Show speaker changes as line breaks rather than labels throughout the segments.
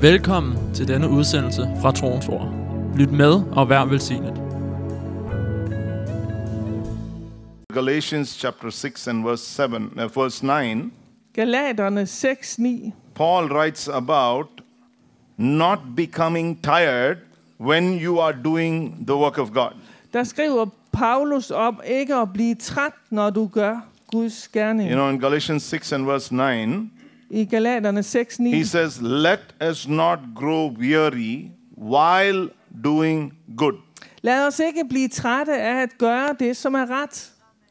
Velkommen til denne udsendelse fra Troens Ord. Lyt med og vær velsignet.
Galatians chapter 6 and verse 7, uh, verse 9,
Galaterne 6:9.
Paul writes about not becoming tired when you are doing the work of God.
Der skriver Paulus om ikke at blive træt, når du gør Guds gerning.
You know, in Galatians 6 and verse 9,
I Galaterne
he
6:9.
says, Let us not grow weary while doing good.
Lad os ikke blive trætte af at gøre det, som er ret.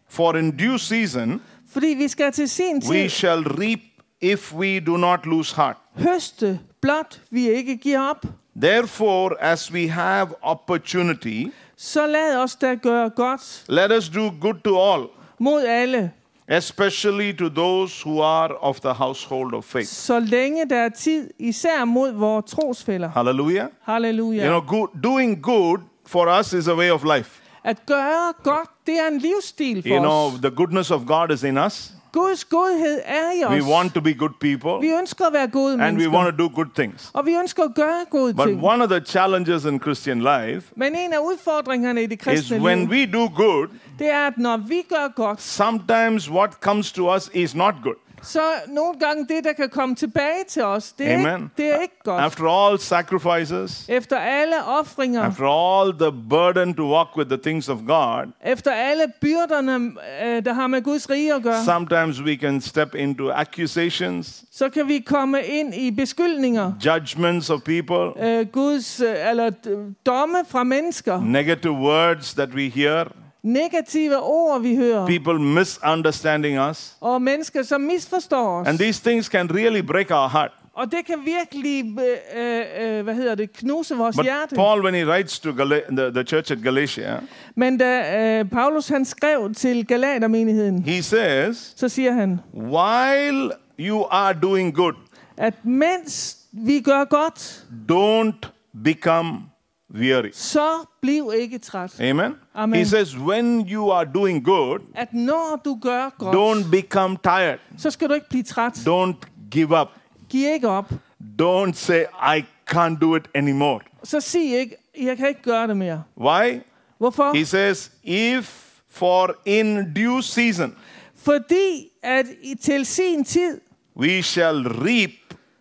For in due season
Fordi vi skal til sin
we
tid
shall reap if we do not lose heart.
høste, blot vi ikke giver op.
Therefore, as we have opportunity,
Så lad os da gøre godt
let us do good to all.
mod alle,
especially to those who are of the household of faith.
så længe der er tid, især mod vores trosfælder.
Hallelujah. You
Halleluja.
know, good, doing good for us is a way of life.
At gøre godt, det er en livsstil
You
for
know,
os.
the goodness of God is in us.
Guds godhed er i
We
os.
want to be good people
Vi ønsker at være gode
and we
mennesker.
want to do good things.
Og vi ønsker at gøre gode
But
ting.
one of the challenges in Christian life
Men en af udfordringerne i det
is
kristne
when
liv,
we do good,
det er, at når vi gør godt,
sometimes what comes to us is not good.
så nogle gange det, der kan komme tilbage til os, det er,
Amen.
ikke, det er ikke godt.
After all sacrifices,
Efter alle ofringer,
after all the burden to walk with the things of God,
efter alle byrderne, øh, der har med Guds rige at gøre,
sometimes we can step into accusations,
så kan vi komme ind i beskyldninger.
judgments of people,
Øh, Guds, øh, eller øh, domme fra mennesker.
negative words that we hear,
Negative ord, vi hører.
people misunderstanding us.
Og mennesker, som misforstår os.
And these things can really break our heart.
Og det kan virkelig, øh, øh, øh, hvad hedder det, knuse vores
But
hjerte.
Paul, when he writes to Gal- the, the church at Galatia,
Men da øh, Paulus han skrev til Galatermenigheden,
he says,
så siger han,
While you are doing good,
at mens vi gør godt,
don't become weary.
så bliv ikke træt.
Amen?
Amen.
He says, When you are doing good,
At når du gør godt,
don't become tired.
så skal du ikke blive træt.
Don't give up.
Giv ikke op.
Don't say, I can't do it anymore.
Så sig ikke, jeg kan ikke gøre det mere.
Why?
Hvorfor?
He says, if for in due season
Fordi at i, til sin tid,
we shall reap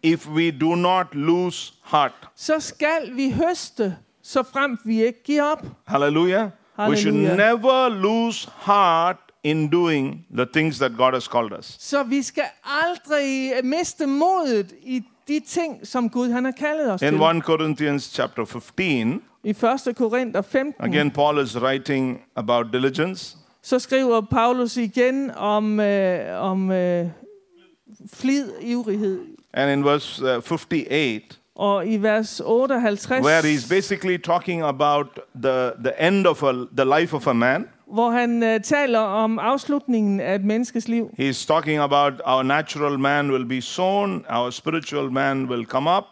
if we do not lose heart.
så skal vi høste, så frem vi ikke giver op.
Hallelujah. We should
Hallelujah.
never lose heart in doing the things that God has called us.
Så vi skal aldrig øh, miste modet i de ting, som Gud han har kaldet os
In
til.
1 Corinthians chapter 15,
I 1. Korinther 15,
again, Paul is writing about diligence.
så skriver Paulus igen om, øh, om øh, flid, ivrighed.
And in verse uh, 58,
Og i vers 58,
where he's basically talking about the, the end of a, the life of a man,
hvor han øh, taler om afslutningen af et menneskes liv.
He's talking about our natural man will be sown, our spiritual man will come up.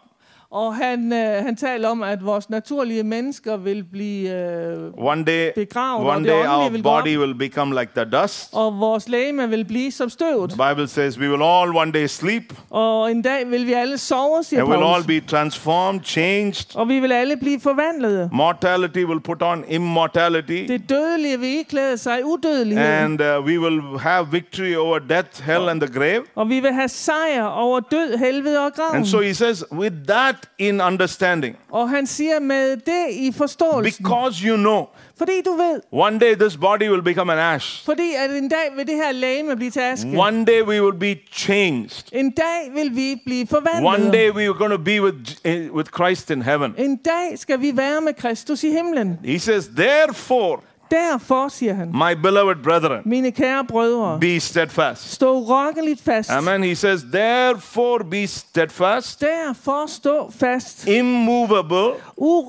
Og han, øh, han taler om, at vores naturlige mennesker vil blive... Øh,
One day,
Begravet,
one
og det
day our
åndelige vil gå
body will become like the dust.
og vores lægeme vil blive som støvet.
The Bible says we will all one day sleep
Og en dag vil vi alle sove, siger
and we'll all
Paulus.
be transformed, changed.
Og vi vil alle blive forvandlede.
Mortality will put on immortality
Det dødelige vil iklæde sig udødelighed.
and uh, we will have victory over death, hell, and the grave.
Og vi vil have sejr over død, helvede og graven.
And so he says, with that in understanding,
Og han siger med det i forståelsen.
because you know
Fordi du ved,
one day this body will become an ash,
fordi at en dag vil det her lægeme blive til aske.
one day we will be changed.
En dag vil vi blive
One
forvandlet.
day we are going to be with, eh, with Christ in heaven.
En dag skal vi være med Kristus i himlen.
He says, Therefore,
Derfor, siger han,
my beloved brethren,
mine kære brødre,
be steadfast.
stå rokkeligt fast.
Amen. He says, Therefore, be steadfast,
Derfor stå fast,
immovable,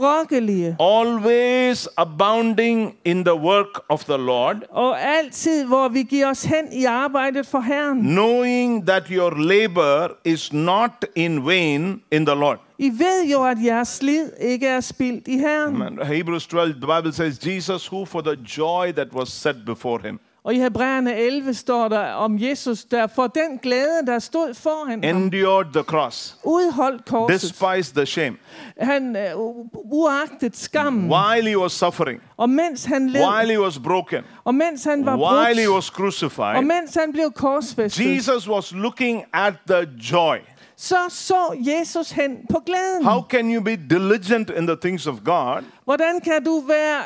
urokkelige,
always abounding in the work of the Lord,
og altid, hvor vi giver os hen i arbejdet for Herren.
knowing that your labor is not in vain in the Lord.
I ved jo, at jeres slid ikke er spildt i Herren.
Amen. Hebrews 12, the Bible says, Jesus, who for the joy that was set before him
Og i Hebræerne 11 står der om Jesus, der for den glæde, der stod foran ham,
endured the cross,
udholdt korset.
despised the shame,
Han øh, u- uagtet skammen,
while he was suffering,
og mens han led,
while he was broken,
og mens han var
while he
brudt,
was
og
crucified,
mens han blev korsfæstet,
Jesus was looking at the joy.
så så Jesus hen på glæden.
How can you be diligent in the things of God
Hvordan kan du være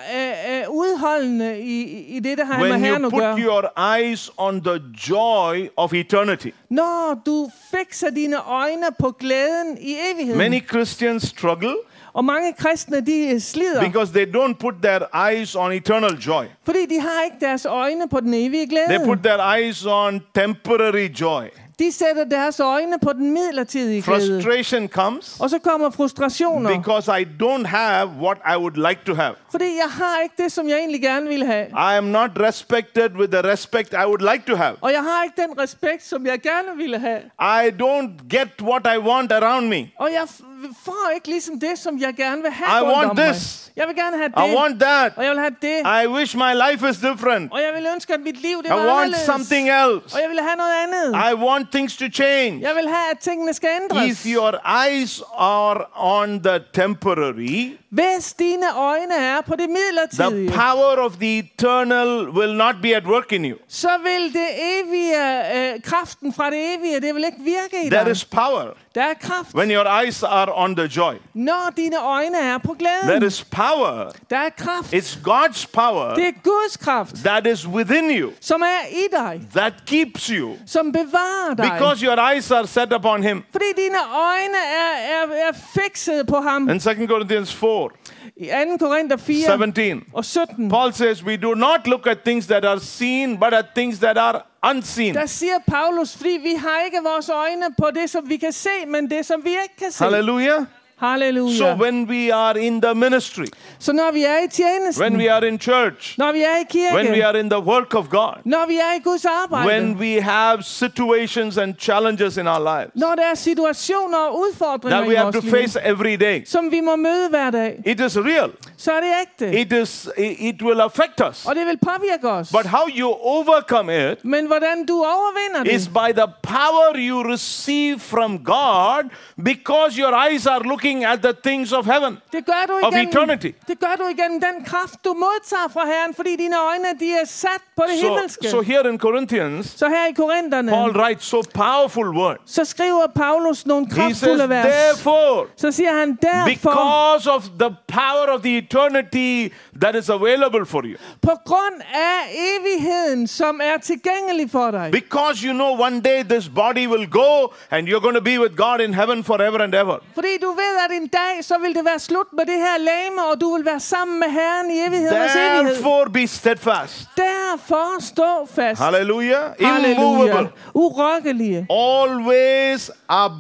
øh, øh, udholdende i, i- i det, der har med
when
Herren
you
at gøre?
put your eyes on the joy of eternity?
Når du fikser dine øjne på glæden i evigheden.
Many Christians struggle
og mange kristne, de øh, slider,
because they don't put their eyes on eternal joy.
fordi de har ikke deres øjne på den evige
They
glæde.
put their eyes on temporary joy.
de sætter deres øjne på den midlertidige glæde.
Frustration comes
Og så kommer frustrationer,
because I don't have what I would like to have.
fordi jeg har ikke det, som jeg egentlig gerne ville have.
I am not respected with the respect I would like to have.
Og jeg har ikke den respekt, som jeg gerne ville have.
I don't get what I want around me.
Og jeg f- får ikke ligesom det, som jeg gerne vil have
I
rundt
want
om mig.
this.
Jeg vil gerne have det,
I want that.
og jeg vil have det,
I wish my life is different.
og jeg vil ønske, at mit liv det
I
var
want
anderledes.
something else.
Og jeg vil have noget andet.
I want things to change.
Jeg vil have, at tingene skal ændres.
If your eyes are on the temporary,
Hvis dine øjne er på det
the
midlertidige,
power of the eternal will not be at work in you.
så vil det evige, øh, kraften fra det evige, det vil ikke virke i
There
dig.
is power
Der er kraft,
when your eyes are on the joy.
når dine øjne er på glæden.
There is power.
Der er kraft.
It's God's power
Det er Guds kraft,
that is within you
som er i dig,
that keeps you
som bevarer dig.
because your eyes are set upon Him.
Fordi dine øjne er, er, er fikset på ham.
In 2 Corinthians 4
I 2. Korinther 4
17,
og 17,
Paul says, We do not look at things that are seen, but at things that are unseen.
der siger Paulus, fordi vi har ikke vores øjne på det, som vi kan se, men det, som vi ikke kan se.
Hallelujah.
Halleluja.
So when we are in the ministry,
Så når vi er i tjenesten,
when we are in church,
når vi er i kirken,
when we are in the work of God,
når vi er i Guds arbejde,
when we have situations and challenges in our lives
når der er situationer og udfordringer
that we
i
have
vores
to
liv,
face every day,
som vi må møde hver dag,
it is real.
så er det ægte.
It is. It it will affect us.
og det vil påvirke os.
But how you overcome it
men hvordan du overvinder
is
det,
by the power you receive from God because your eyes are looking at the things of heaven.
det gør, du
of
igennem,
eternity.
det gør du igennem den kraft, du modtager fra Herren, fordi dine øjne de er sat på det
So,
himmelske.
so here in Corinthians,
så her i Korinterne,
Paul writes so powerful words.
så skriver Paulus nogle
He says,
kraftfulde vers.
therefore,
så siger han, derfor,
because of the power of the eternity that is available for you,
på grund af evigheden, som er tilgængelig for dig.
because you know one day this body will go and you're going to be with God in heaven forever and ever.
Fordi du ved, at en dag, så vil det være slut med det her lame, og du vil være sammen med Herren i evighedens evighed.
Therefore, be steadfast.
Derfor stå fast.
Hallelujah.
Halleluja.
Immovable.
Urokkelige.
Always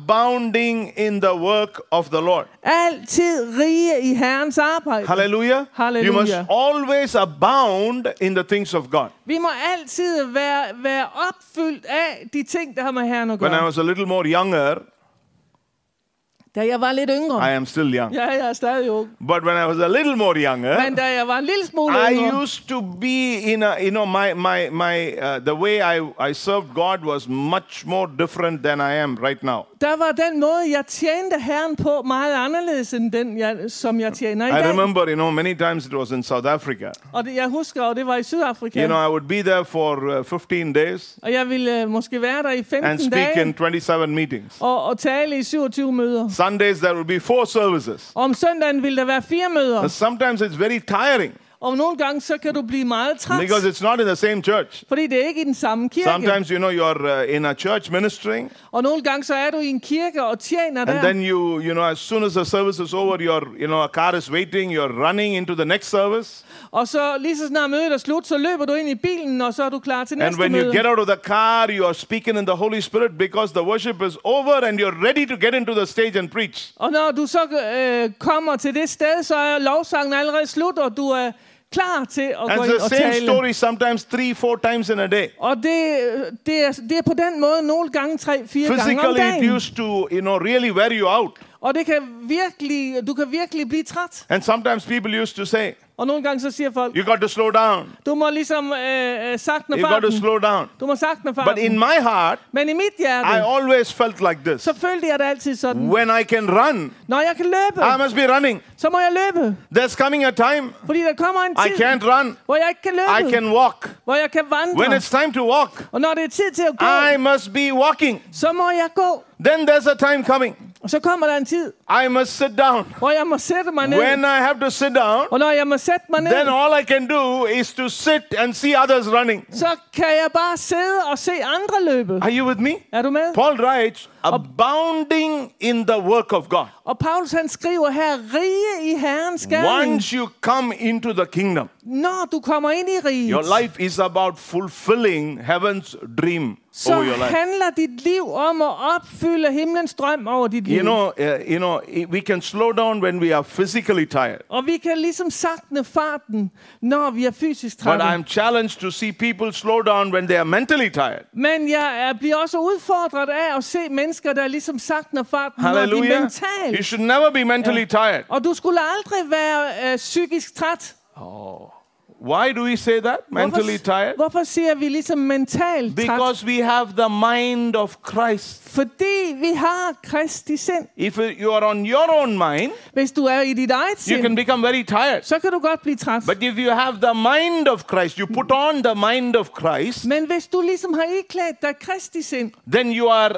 abounding in the work of the Lord.
Altid rige i Herrens arbejde.
Hallelujah. You must
Hallelujah.
always abound in the things of God.
Vi må altid være, være opfyldt af de ting, der har med Herren at
When I
gøre.
was a little more younger,
Da jeg var lidt yngre.
I am still young.
Ja, jeg er stadig ung.
But when I was a little more
Men
younger,
da jeg var en lille smule
I
yngre,
used to be in a, you know, my, my, my, uh, the way I, I served God was much more different than I am right now.
der var den måde, jeg tjente Herren på meget anderledes end den, jeg, som jeg tjener i
I
dag.
remember, you know, many times it was in South Africa.
Og det, jeg husker, og det var i Sydafrika.
You know, I would be there for uh, 15 days
Og jeg ville øh, måske være der i
and
15
speak in
dage
27 meetings.
og, og tale i 27 møder.
Sundays, there would be four services.
Og om søndagen ville der være fire
Now,
møder.
Sometimes it's very tiring
Og nogle gange, så kan du blive meget træt.
because it's not in the same church.
Fordi det er ikke i den samme kirke.
Sometimes, you know, you're uh, in a church ministering,
Og nogle gange, så er du i en kirke og tjener
and
der.
then you, you know, as soon as the service is over, your, you know, a car is waiting, you're running into the next service.
Og så lige så snart mødet er slut, så løber du ind i bilen, og så er du klar til
And
næste
when you
møde.
get out of the car, you are speaking in the Holy Spirit because the worship is over and you're ready to get into the stage and preach.
Og når du så øh, kommer til det sted, så er lovsangen allerede slut, og du er klar til at gå
And
ind
it's the
og
same
tale.
story sometimes three, four times in a day.
Og det, øh, det, er, det er på den måde nogle gange tre, fire gange om
Physically, it
dagen.
used to, you know, really wear you out.
Og det kan virkelig, du kan virkelig blive træt.
And sometimes people used to say,
Og nogle gange så siger folk,
You got to slow down.
du må ligesom øh, øh, sakne
You got to
farten.
slow down.
Du må sakne
But in
farten.
my heart,
Men i mit hjerte,
I always felt like this.
så følte jeg det altid sådan.
When I can run,
Når jeg kan løbe,
I must be running.
så må jeg løbe.
There's coming a time
Fordi der kommer en
I
tid,
can't run.
hvor jeg ikke kan
I
løbe.
can walk.
Hvor jeg kan
When
vandre.
it's time to walk,
Og når det er tid til at gå,
I must be walking.
så må jeg gå.
Then there's a time coming.
Og så kommer der en tid,
I must sit down.
hvor jeg må sætte mig ned.
When I have to sit down,
Og når jeg må sætte mig ned,
then all I can do is to sit and see others running.
så kan jeg bare sidde og se andre løbe.
Are you with me?
Er du med?
Paul writes, abounding in the work of God.
Og Paulus han skriver her, rige i Herrens gerning,
Once you come into the kingdom,
når du kommer ind i riget.
your life is about fulfilling heaven's dream
så
over Oh, your life.
handler dit liv om at opfylde himlens drøm over dit liv.
You know, uh, you know, i- we can slow down when we are physically tired.
og vi kan ligesom sakne farten, når vi er fysisk
But
trætte.
I'm challenged to see people slow down when they are mentally tired.
Men jeg er, bliver også udfordret af at se mennesker, der ligesom sakner farten, når de er
Hallelujah. You
mentalt.
should never be mentally tired.
Og du skulle aldrig være øh, psykisk træt.
Why do we say that? Mentally tired?
Hvorfor siger vi ligesom mentalt træt?
Because we have the mind of Christ.
Fordi vi har Kristi sind.
If you are on your own mind,
Hvis du er i dit eget
you can
sind,
become very tired.
så kan du godt blive træt.
But if you have the mind of Christ, you put on the mind of Christ,
Men hvis du ligesom har iklædt dig Kristi sind,
then you are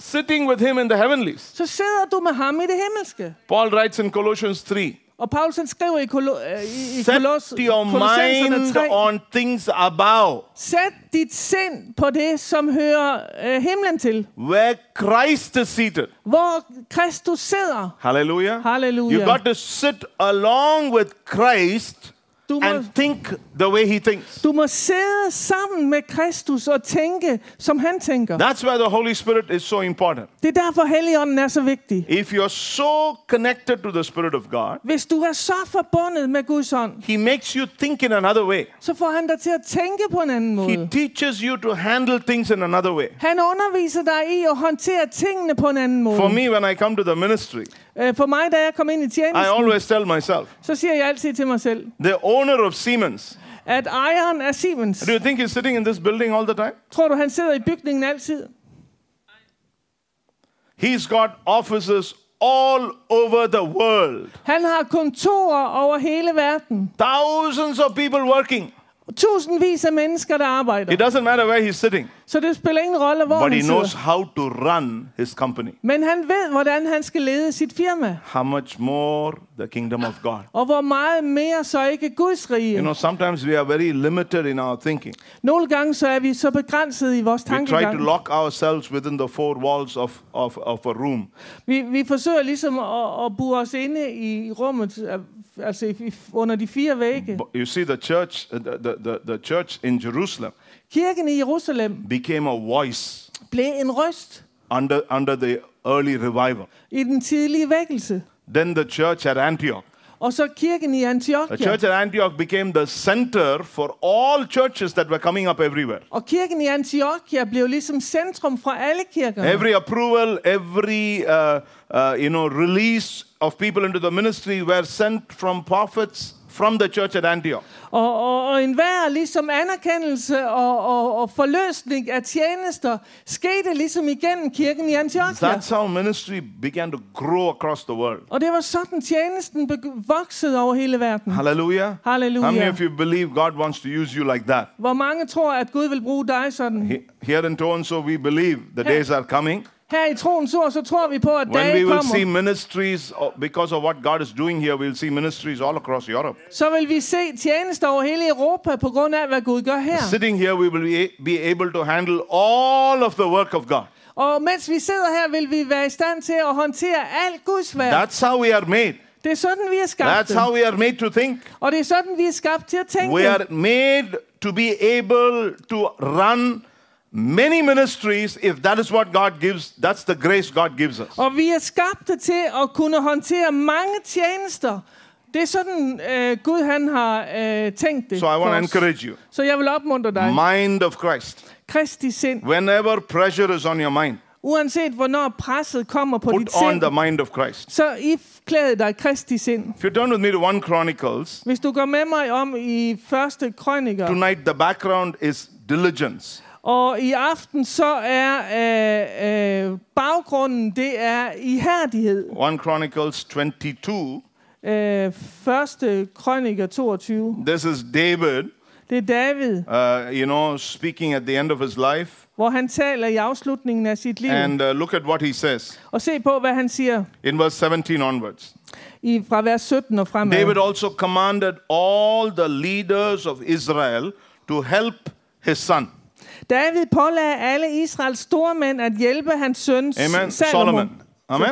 sitting with him in the heavenlies.
så sidder du med ham i det himmelske.
Paul writes in Colossians 3
Og Paulus han skriver i, Kolo, øh, i, i
Set
Koloss,
your
Kolossenserne
mind
3,
on things above,
sæt dit sind på det, som hører øh, himlen til.
where Christ is seated.
Hvor Kristus sidder.
Hallelujah.
Hallelujah.
You got to sit along with Christ
Du må,
and think the way he thinks.
du må sidde sammen med Kristus og tænke, som han tænker.
That's why the Holy Spirit is so important.
Det er derfor, Helligånden er så vigtig.
If you're so connected to the Spirit of God,
Hvis du er så forbundet med Guds ånd,
he makes you think in another way.
så får han dig til at tænke på en anden
He
måde.
teaches you to handle things in another way.
Han underviser dig i at håndtere tingene på en anden måde.
For me, when I come to the ministry,
Øh, For mig, da jeg kom ind i
I
tjenesten,
always tell myself,
så siger jeg altid til mig selv,
the owner of Siemens,
at ejeren er Siemens.
do you think he's sitting in this building all the time?
Tror du, han sidder i bygningen altid?
He's got offices all over the world,
Han har kontorer over hele verden.
thousands of people working.
Tusindvis af mennesker, der
It
arbejder.
doesn't matter where he's sitting,
Så det spiller ingen rolle, hvor
but
han
he knows
sidder.
how to run his company.
Men han ved, hvordan han skal lede sit firma.
How much more the kingdom of God?
Og hvor meget mere så ikke Guds
You
rige.
know, sometimes we are very limited in our thinking.
Nogle gange så er vi så begrænset i vores
We try
tankegang.
to lock ourselves within the four walls of, of, of a room.
Vi, vi forsøger ligesom at, at bure os inde i rummet, øh, altså i- i- under de fire vægge.
But you see, the church, uh, the, the, the, the church in Jerusalem
Kirken i Jerusalem
became a voice
blev en røst
under, under the early revival.
i den tidlige vækkelse.
Then the church at Antioch.
Og så kirken i
The
Antiochia.
church at Antioch became the center for all churches that were coming up everywhere.
Og kirken i Antiochia blev ligesom centrum fra alle kirkerne.
Every approval, every uh, uh, you know release of people into the ministry were sent from prophets from the church at Antioch.
Og, og, og enhver ligesom anerkendelse og, og, og forløsning af tjenester skete ligesom igennem kirken i Antiochia.
That's how ministry began to grow across the world.
Og det var sådan, tjenesten beg- voksede over hele verden.
Hallelujah. How many
Halleluja.
of you believe God wants to use you like that?
Hvor mange tror, at Gud vil bruge dig sådan?
He- Here in Toronto, we believe the days are coming
Her i troens ord, så tror vi på, at
when we
dage
will see
kommer.
ministries uh, because of what God is doing here. We'll see ministries all across Europe.
Så vil vi se tjenester over hele Europa på grund af, hvad Gud gør her.
Sitting here, we will be be able to handle all of the work of God.
Og mens vi sidder her, vil vi være i stand til at håndtere alt Guds værk.
That's how we are made.
Det er sådan, vi er skabt.
That's how
How...
we are made to think.
Og det er sådan, vi er skabt til at tænke.
We are made to be able to run many ministries if that is what God gives. That's the grace God gives us.
Og vi er skabte til at kunne håndtere mange tjenester. Det er sådan, øh, Gud han har øh, tænkt det.
So I
for
want to
os.
encourage you.
Så jeg vil opmuntre dig.
Mind of Christ.
Kristi sind.
Whenever pressure is on your mind,
uanset hvornår presset kommer på dit
Put on
sind,
the mind of Christ.
så ifklæd dig Kristi sind.
If you turn with me to 1 Chronicles,
Hvis du går med mig om i første krøniker,
tonight the background is diligence.
og i aften så er øh, øh, baggrunden, det er ihærdighed.
1 Chronicles 22,
Øh, første krøniker 22,
this is David,
det er David,
uh, you know, speaking at the end of his life.
hvor han taler i afslutningen af sit liv.
And uh, look at what he says
Og se på, hvad han siger
in verse 17 onwards.
i, fra vers 17 og fremad.
David also commanded all the leaders of Israel to help his son.
David pålagde alle Israels stormænd at hjælpe hans søn
Amen.
Salomo.
Solomon. Amen.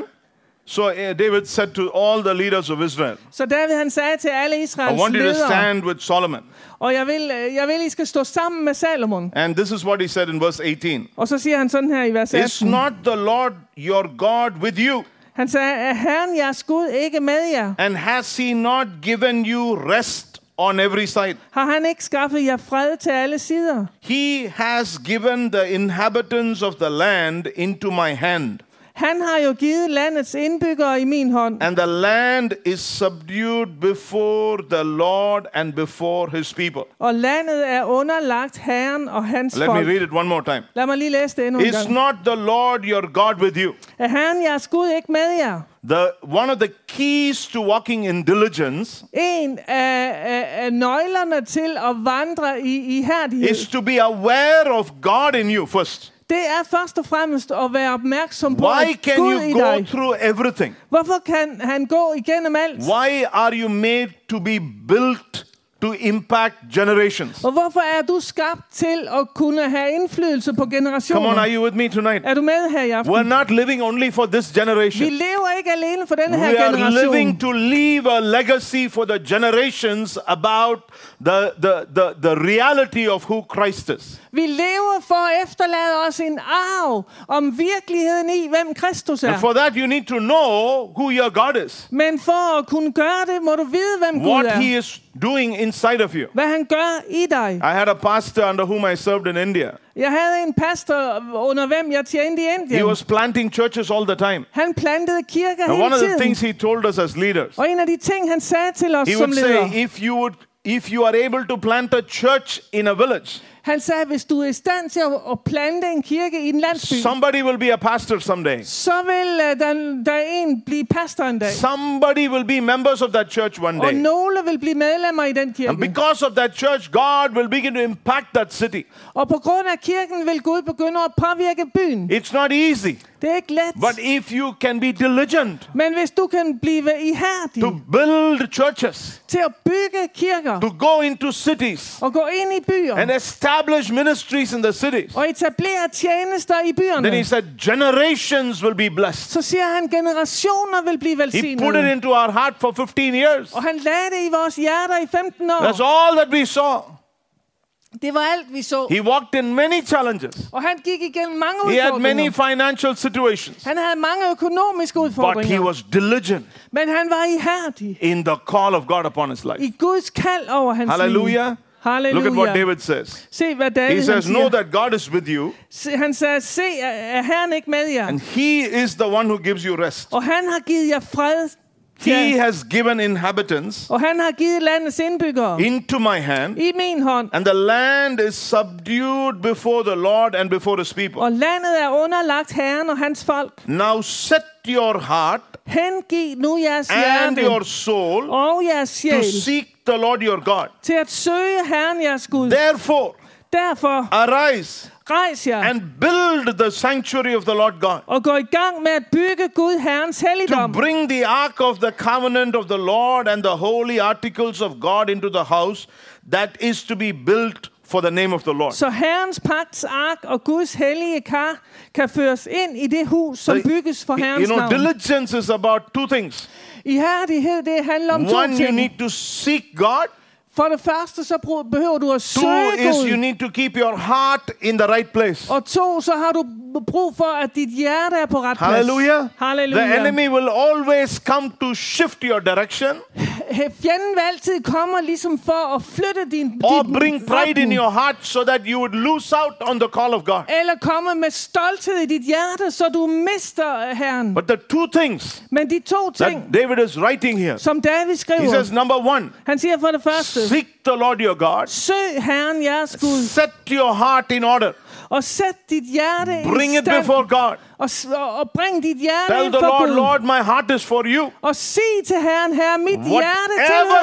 So uh, David said to all the leaders of Israel,
Så David han sagde til alle
I
Israels
want you to
ledere,
stand with Solomon.
og jeg vil, øh, jeg vil, I skal stå sammen med Salomon.
And this is what he said in verse 18.
Og så siger han sådan her i vers
Is
18.
not the Lord your God with you?
Han sagde, er Herren jeres Gud ikke med jer?
And has he not given you rest on every side?
Har han ikke skaffet jer fred til alle sider?
He has given the inhabitants of the land into my hand,
Han har jo givet landets indbyggere i min hånd,
and the land is subdued before the Lord and before his people.
og landet er underlagt Herren og hans
Let me
folk.
read it one more time.
Lad mig lige læse det endnu en
Is
gang.
not the Lord your God with you?
Er Herren jeres Gud ikke med jer?
The one of the keys to walking in diligence
En af, af, af nøglerne til at vandre i ihærdighed,
is to be aware of God in you first.
det er først og fremmest at være opmærksom på
Why
at
can
Gud i
you go
dig.
through everything?
Hvorfor kan han gå igennem alt?
Why are you made to be built to impact generations?
Og hvorfor er du skabt til at kunne have indflydelse på
Come on, are
generationer?
you with me tonight?
Er du med her i aften?
We're not living only for this
Vi
generation.
lever ikke alene for denne
We
her
are living
generation.
to leave a legacy for the generations about the, the, the, the reality of who Christ is.
Vi lever for at efterlade os en arv om virkeligheden i, hvem Kristus
And
er.
for that, you need to know who your God is,
Men for at kunne gøre det, må du vide, hvem Gud
what He
er.
is doing inside of you.
Hvad han gør i dig.
I had a pastor under whom I served in India.
Jeg havde en pastor, under hvem jeg tjente i
He
Indien.
was planting churches all the time.
Han plantede kirker
And one of the
hele tiden.
things he told us as leaders,
Og en af de ting, han sagde til os
he
som
would
ledere,
say, if you would, if you are able to plant a church in a village,
han sagde, hvis du er i stand til at at plante en kirke i en landsby,
somebody will be a pastor someday.
så vil øh, der, der en blive pastor en dag.
Somebody will be members of that church one
Og
day.
nogle vil blive medlemmer i den
And
kirke.
because of that church, God will begin to impact that city.
Og på grund af kirken vil Gud begynde at påvirke byen.
It's not easy.
Det er ikke let.
But if you can be diligent
Men hvis du kan blive
to
ihærdig
build churches,
til at bygge kirker
to go into cities
og gå ind i
and
byer
establish ministries in the cities,
og etablere tjenester i
then he
byerne,
said, generations will be blessed.
så siger han, generationer vil blive
He put it
velsignede.
into our heart for 15 years.
Og han lagde det i vores hjerter i 15
That's
år.
all that we saw.
Det var alt, vi så.
He walked in many challenges.
Og han gik igennem mange
He had many
udfordringer.
financial situations.
Han havde mange økonomiske
But he
udfordringer,
was diligent
men han var ihærdig
in the call of God upon his life.
i Guds kald over hans
Hallelujah.
liv.
Look at what
Halleluja.
David says.
Se, hvad David
He
han
says, Know
siger.
that God is with you,
Se- Han sagde, se, er er Herren ikke med jer?
and He is the one who gives you rest.
Og han har givet jer fred.
He
Ja.
has given inhabitants
Og han har givet landets indbyggere
into my hand,
i min hånd.
and the land is subdued before the Lord and before His people.
Og landet er underlagt Herren og hans folk.
Now set your heart
Hengiv nu jeres
and
hjerte
your soul
og jeres
to
sjæl
seek the Lord your God.
til at søge Herren jeres Gud.
Therefore,
Derfor
arise
rejs jer
and build the sanctuary of the Lord God
og gå i gang med at bygge Gud Herrens
to
helligdom
bring the ark of the covenant of the Lord and the holy articles of God into the house that is to be built for the name of the Lord.
så Herrens pagts ark og Guds hellige kar kan føres ind i det hus, som bygges for
you
Herrens
know,
navn.
diligence is about two things.
Ihærdighed, det handler om to
One, you
ting.
need to seek God.
For det første, så brug- behøver du at
Two
søge
is you
Gud.
need to keep your heart in the right place.
Og to, så har du brug for, at dit hjerte er på ret plads.
Hallelujah. The
Halleluja.
enemy will always come to shift your direction.
he- fjenden vil altid komme ligesom for at flytte din,
or
din
bring pride in
retning.
your heart so that you would lose out on the call of God.
Eller komme med stolthed i dit hjerte, så du mister øh, Herren.
But the two things
Men de to ting,
that David is writing here
som David
he
skriver,
says, number one,
han siger for det første,
seek the Lord your God,
søg Herren jeres Gud,
set your heart in order,
og sæt dit hjerte
bring
i
it
stand,
before God.
og, s- og, og bring dit hjerte
Tell
ind
the
for
Lord,
Gud,
Lord, my heart is for you.
og sig til Herren, Herre, mit hjerte
Whatever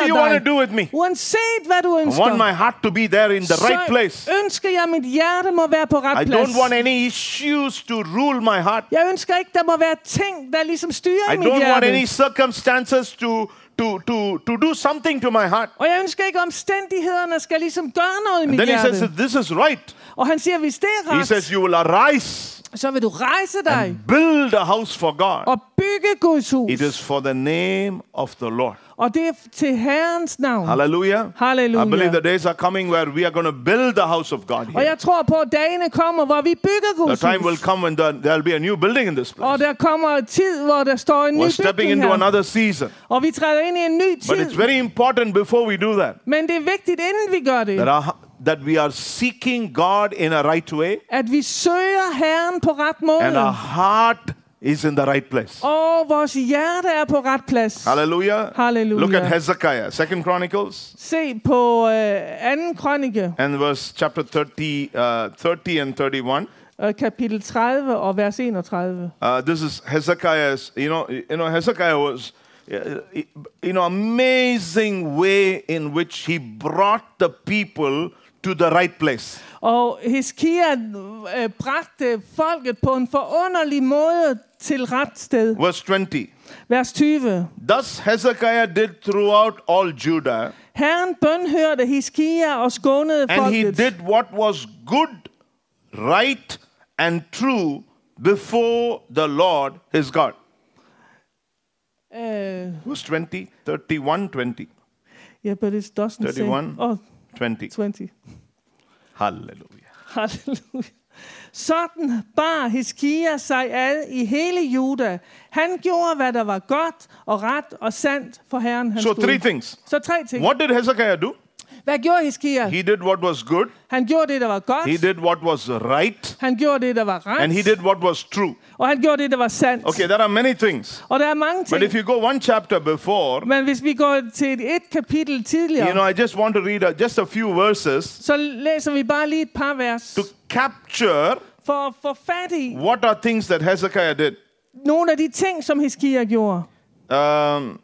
you
tilhører
want to
dig.
do with me,
Uanset hvad du
I
ønsker,
want my heart to be there in the right
så
place.
ønsker jeg, at mit hjerte må være på ret
I
plads.
don't want any issues to rule my heart.
Jeg ønsker ikke, der må være ting, der ligesom styrer
I
mit
don't want
hjerte.
any circumstances to, to, to, to do something to my heart.
Og jeg ønsker ikke, at omstændighederne skal ligesom gøre noget i mit
Then he
hjerte.
says, if this is right.
og han siger, hvis det er
He
ret,
says, you will arise,
så vil du rejse dig
build a house for God.
og bygge Guds hus.
It is for the name of the Lord.
Og det er til Herrens navn.
Hallelujah.
Hallelujah. Oh,
I believe the days are coming where we are going to build the house of God.
Og
Here.
jeg tror på, at dagene kommer, hvor vi bygger
The
Guds
time will
hus.
come when there will be a new building in this
Og
place.
der kommer en tid, hvor der står en ny
We're stepping
bygning
into
her.
another season.
Og vi træder ind i en ny
But it's
tid.
very important before we do that
Men det er vigtigt, inden vi gør
that,
det,
our, that we are seeking God in a right way
at vi søger Herren på ret
and
måde.
our heart is in the right place.
Og vores hjerte er på ret plads.
Hallelujah.
Hallelujah.
Look at Hezekiah, Second Chronicles
Se på øh, 2. krønike,
and verse chapter 30, uh, 30 and 31.
øh, kapitel 30 og vers 31.
Uh, this is Hezekiah's, you know, you know, Hezekiah was, uh, you know, amazing way in which he brought the people to the right place.
Og Heskia øh, bragte folket på en forunderlig måde til ret sted.
Verse 20.
Vers 20.
Thus Hezekiah did throughout all Judah,
Herren bønhørte Hiskia og skånede
and he
folket.
did what was good, right, and true before the Lord his God.
Uh,
Verse 20, 31, 20,
yeah, but it doesn't
31.
say. Oh,
20.
20.
Hallelujah.
Halleluja. Sådan bar Hiskia sig ad i hele Juda. Han gjorde, hvad der var godt og ret og sandt for Herren hans
So
Gud.
three things.
Så tre ting.
What did Hezekiah do?
Hvad gjorde Hiskia?
He did what was good.
Han gjorde det, der var godt.
He did what was right
Han gjorde det, der var ret.
and he did what was true.
Og han gjorde det, der var sandt.
Okay, there are many things.
Og der er mange
But
ting.
if you go one chapter before,
Men hvis vi går til et, et kapitel tidligere,
you know, I just want to read uh, just a few verses
så læser vi bare lige et par vers
to capture
for at få fat i
what are things that Hezekiah did.
nogle af de ting, som Hiskia gjorde.
Um,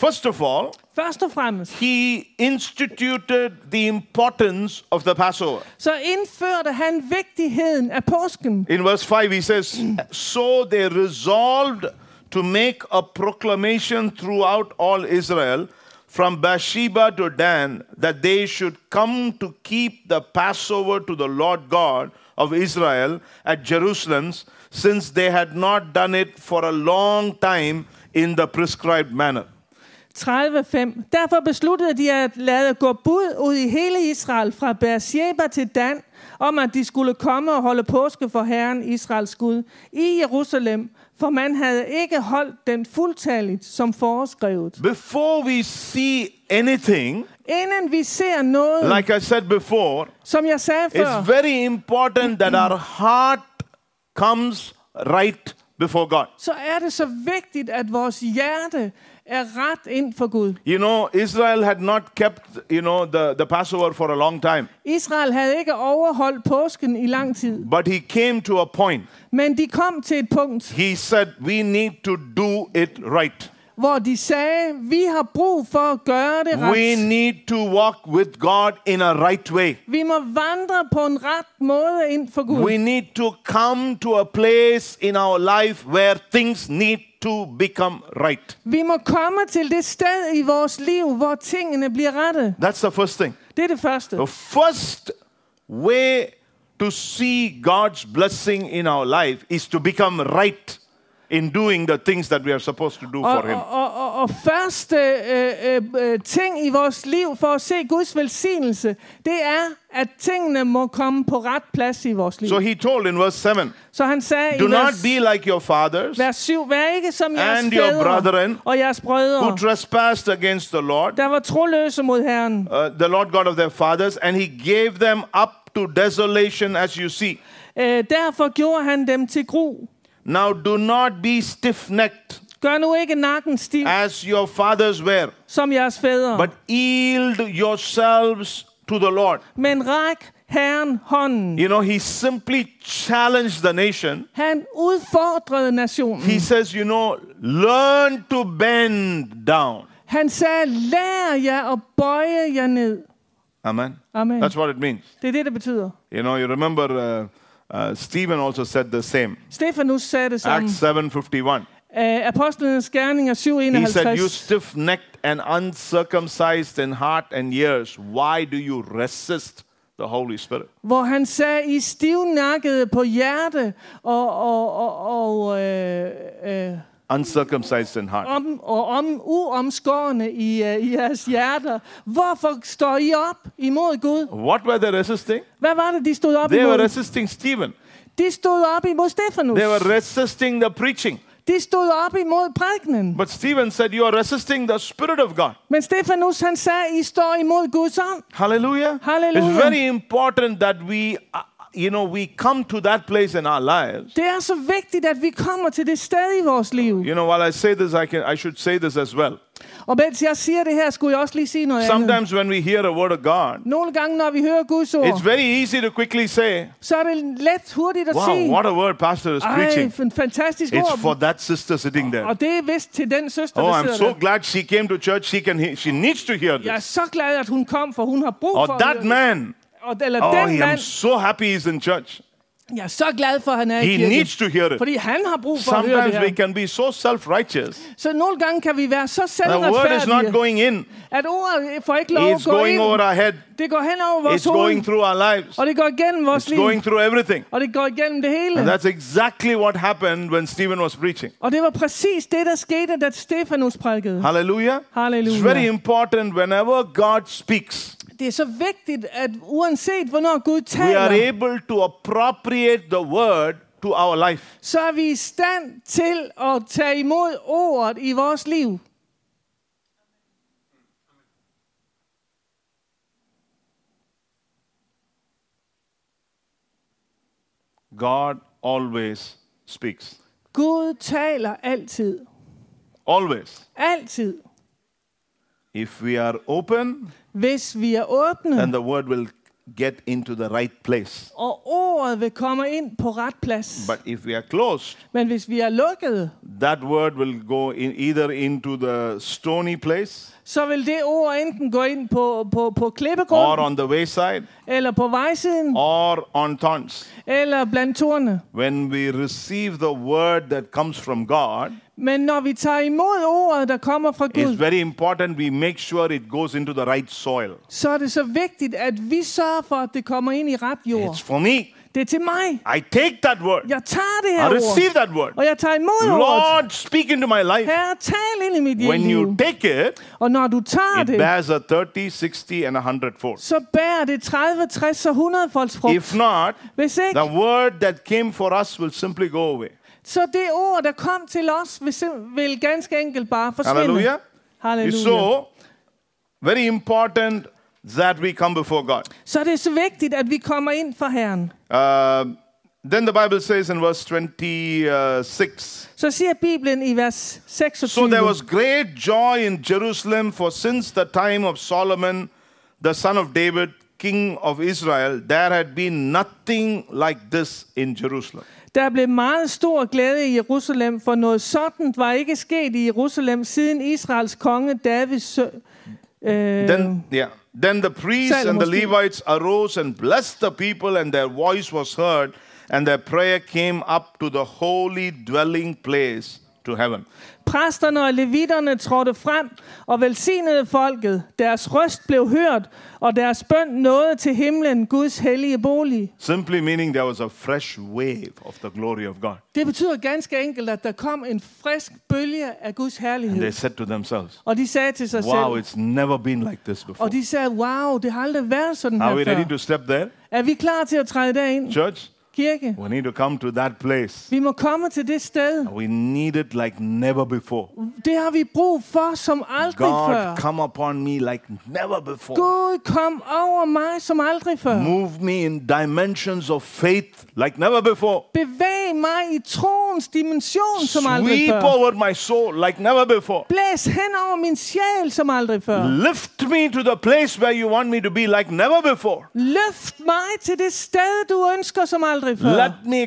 first of all,
Først og fremmest,
he instituted the importance of the Passover.
så indførte han vigtigheden af påsken.
In verse 5, he says, So they resolved to make a proclamation throughout all Israel, from Bathsheba to Dan, that they should come to keep the Passover to the Lord God of Israel at Jerusalem, since they had not done it for a long time in the prescribed manner.
30.5. Derfor besluttede de at lade gå bud ud i hele Israel fra Beersheba til Dan, om at de skulle komme og holde påske for Herren Israels Gud i Jerusalem, for man havde ikke holdt den fuldtalligt som foreskrevet.
Before we see anything,
Inden vi ser noget,
like I said before,
som jeg sagde før,
It's very important that our heart comes right before God.
så er det så vigtigt, at vores hjerte er ret ind for Gud.
You know, Israel had not kept, you know, the, the Passover for a long time.
Israel havde ikke overholdt påsken i lang tid,
But he came to a point.
men de kom til et punkt,
He said, we need to do it right.
hvor de sagde, vi har brug for at gøre det
We
ret.
need to walk with God in a right way.
Vi må vandre på en ret måde ind for
We
Gud.
need to come to a place in our life where things need to become right.
Vi må komme til det sted i vores liv, hvor tingene bliver rette.
That's the first thing.
Det er det første.
The first way to see God's blessing in our life is to become right in doing the things that we are supposed to do
Og,
for Him.
oh, og, og, og, og første øh, øh, øh, ting i vores liv for at se Guds velsignelse, det er, at tingene må komme på ret plads i vores liv.
So he told in verse 7
Så han sagde
Do
i
not
vers,
be like your fathers
vers 7, vær ikke som jeres
And your
fædre
brethren
og jeres brødre,
who trespassed against the Lord,
der var troløse mod Herren.
uh, the Lord God of their fathers, and he gave them up to desolation as you see.
Øh, derfor gjorde han dem til gru.
Now do not be stiff necked
Gør nu ikke nakken stiv,
as your fathers were,
som jeres fædre,
but yield yourselves to the Lord.
men ræk Herren hånden.
You know, he simply challenged the nation.
Han udfordrede nationen.
He says, you know, learn to bend down.
Han sagde, lær jer at bøje jer ned.
Amen.
Amen.
That's what it means.
Det er det, det betyder.
You know, you remember uh, uh, Stephen also said the same.
Stefanus sagde det samme.
Acts 7:51.
Uh, Apostlenes gerninger
He said, You
751.
stiff necked and uncircumcised in heart and ears, why do you resist the Holy Spirit?
Hvor han sagde, I stivnakkede på hjerte og, og, og, og, øh, øh,
Uncircumcised in heart.
om, og om, uomskårende i, øh, i jeres hjerter. Hvorfor står I op imod Gud?
What were they resisting?
Hvad var det, de stod op
They were
imod?
resisting Stephen.
De stod op imod Stefanus.
They were resisting the preaching.
De stod op imod prædikenen.
But Stephen said, You are resisting the Spirit of God.
Men Stefanus han sagde, I står imod Guds ånd.
Hallelujah.
Hallelujah.
It's very important that we, uh, you know, we come to that place in our lives.
Det er så vigtigt, at vi kommer til det sted i vores liv.
You know, while I say this, I, can, I should say this as well.
Og mens jeg siger det her, skulle jeg også lige sige noget andet.
Sometimes when we hear a word of God,
Nogle gange, når vi hører Guds ord,
it's very easy to quickly say,
så er det let hurtigt at
Wow,
sige,
what a word pastor is
ej,
preaching.
en fantastisk
It's
ord.
for that sister sitting there.
Og det er vist til den søster,
Oh,
der
I'm
sidder
so
der.
glad she came to church. She can hear, she needs to hear
Jeg er
this.
så glad, at hun kom, for hun har brug for
Or
at
that
høre
man.
det. og, eller
Oh,
den
I'm
mand.
so happy he's in church.
Jeg er så glad for, at han er i
He
kirken.
needs to hear it.
Fordi han har brug for at høre
Sometimes
det
we
her.
can be so self-righteous.
Så nogle gange kan vi være så
The word is not
selvretfærdige,
going in.
at ordet får ikke lov at
It's
gå
going
ind.
over our head.
Det går hen over vores
It's going
hoved,
through our lives.
og det går igennem vores
It's
liv,
going through everything.
og det går igennem det
And
hele.
that's exactly what happened when Stephen was preaching.
Og det var præcis det, der skete, da Stefanus prædikede.
Hallelujah. It's
Hallelujah.
very important whenever God speaks.
Det er så vigtigt, at uanset hvornår Gud
we are
taler,
able to appropriate the word to our life.
så er vi i stand til at tage imod ordet i vores liv.
God always speaks.
Gud taler altid.
Always.
Altid.
If we are open,
Hvis vi er
then
åbne,
the word will get into the right place.
og ordet vil komme ind på ret plads.
But if we are closed,
Men hvis vi er lukkede,
that word will go in either into the stony place
så vil det ord enten gå ind på, på, på
or
klippegrund,
on the wayside
eller på vejsiden,
or on thorns.
eller blandt torne.
When we receive the word that comes from God,
Men når vi tager imod ordet, der kommer fra
it's
Gud,
very important we make sure it goes into the right soil.
så er det så vigtigt, at vi sørger for, at det kommer ind i ret jord.
It's for me.
Det er til mig.
I take that word.
Jeg tager det her
I
ord,
receive that word.
og jeg tager imod ordet.
Lord, speak into my life.
Herre, tal ind i mit
When oh. you Ah,
liv.
take it,
Og når du tager
it
det,
bears a 30, 60, and a 100 fold.
så bærer det 30, 60 og 100 folks
If
frugt.
not,
Hvis
the
ikke,
word that came for us will simply go away.
så det ord, der kom til os, vil, sim- vil ganske enkelt bare forsvinde.
Hallelujah.
Halleluja.
So, very important that we come before God.
Så er det så vigtigt, at vi kommer ind for Herren.
Uh, then the Bible says in verse 26
Så siger Bibelen i vers 26.
So there was great joy in Jerusalem, for since the time of Solomon, the son of David, king of Israel, there had been nothing like this in Jerusalem.
Der blev meget stor glæde i Jerusalem, for noget sådan var ikke sket i Jerusalem siden Israels konge David sø, øh,
Then, yeah. Then the priests and the
Salomon's king.
Levites arose and blessed the people, and their voice was heard, and their prayer came up to the holy dwelling place to heaven.
Præsterne og levitterne trådte frem og velsignede folket. Deres røst blev hørt, og deres bøn nåede til himlen, Guds hellige bolig.
Simply meaning there was a fresh wave of the glory of God.
Det betyder ganske enkelt, at der kom en frisk bølge af Guds
They
herlighed.
said to themselves,
Og de sagde til sig
Wow,
selv,
it's never been like this before.
og de sagde, wow, det har aldrig været sådan
Are we
her
ready
før.
to step there?
Er vi klar til at træde derind,
Church,
kirke?
we need to come to that place.
Vi må komme til det sted.
We need it like never before.
Det har vi brug for som aldrig
God,
før.
come upon me like never before.
Gud, kom over mig som aldrig før.
Move me in dimensions of faith like never before.
Bevæg mig i troens dimension som aldrig
Sweep
før.
over my soul like never before.
Blæs hen over min sjæl som aldrig før.
Lift me to the place where you want me to be like never before.
Løft mig til det sted, du ønsker som aldrig før.
Let me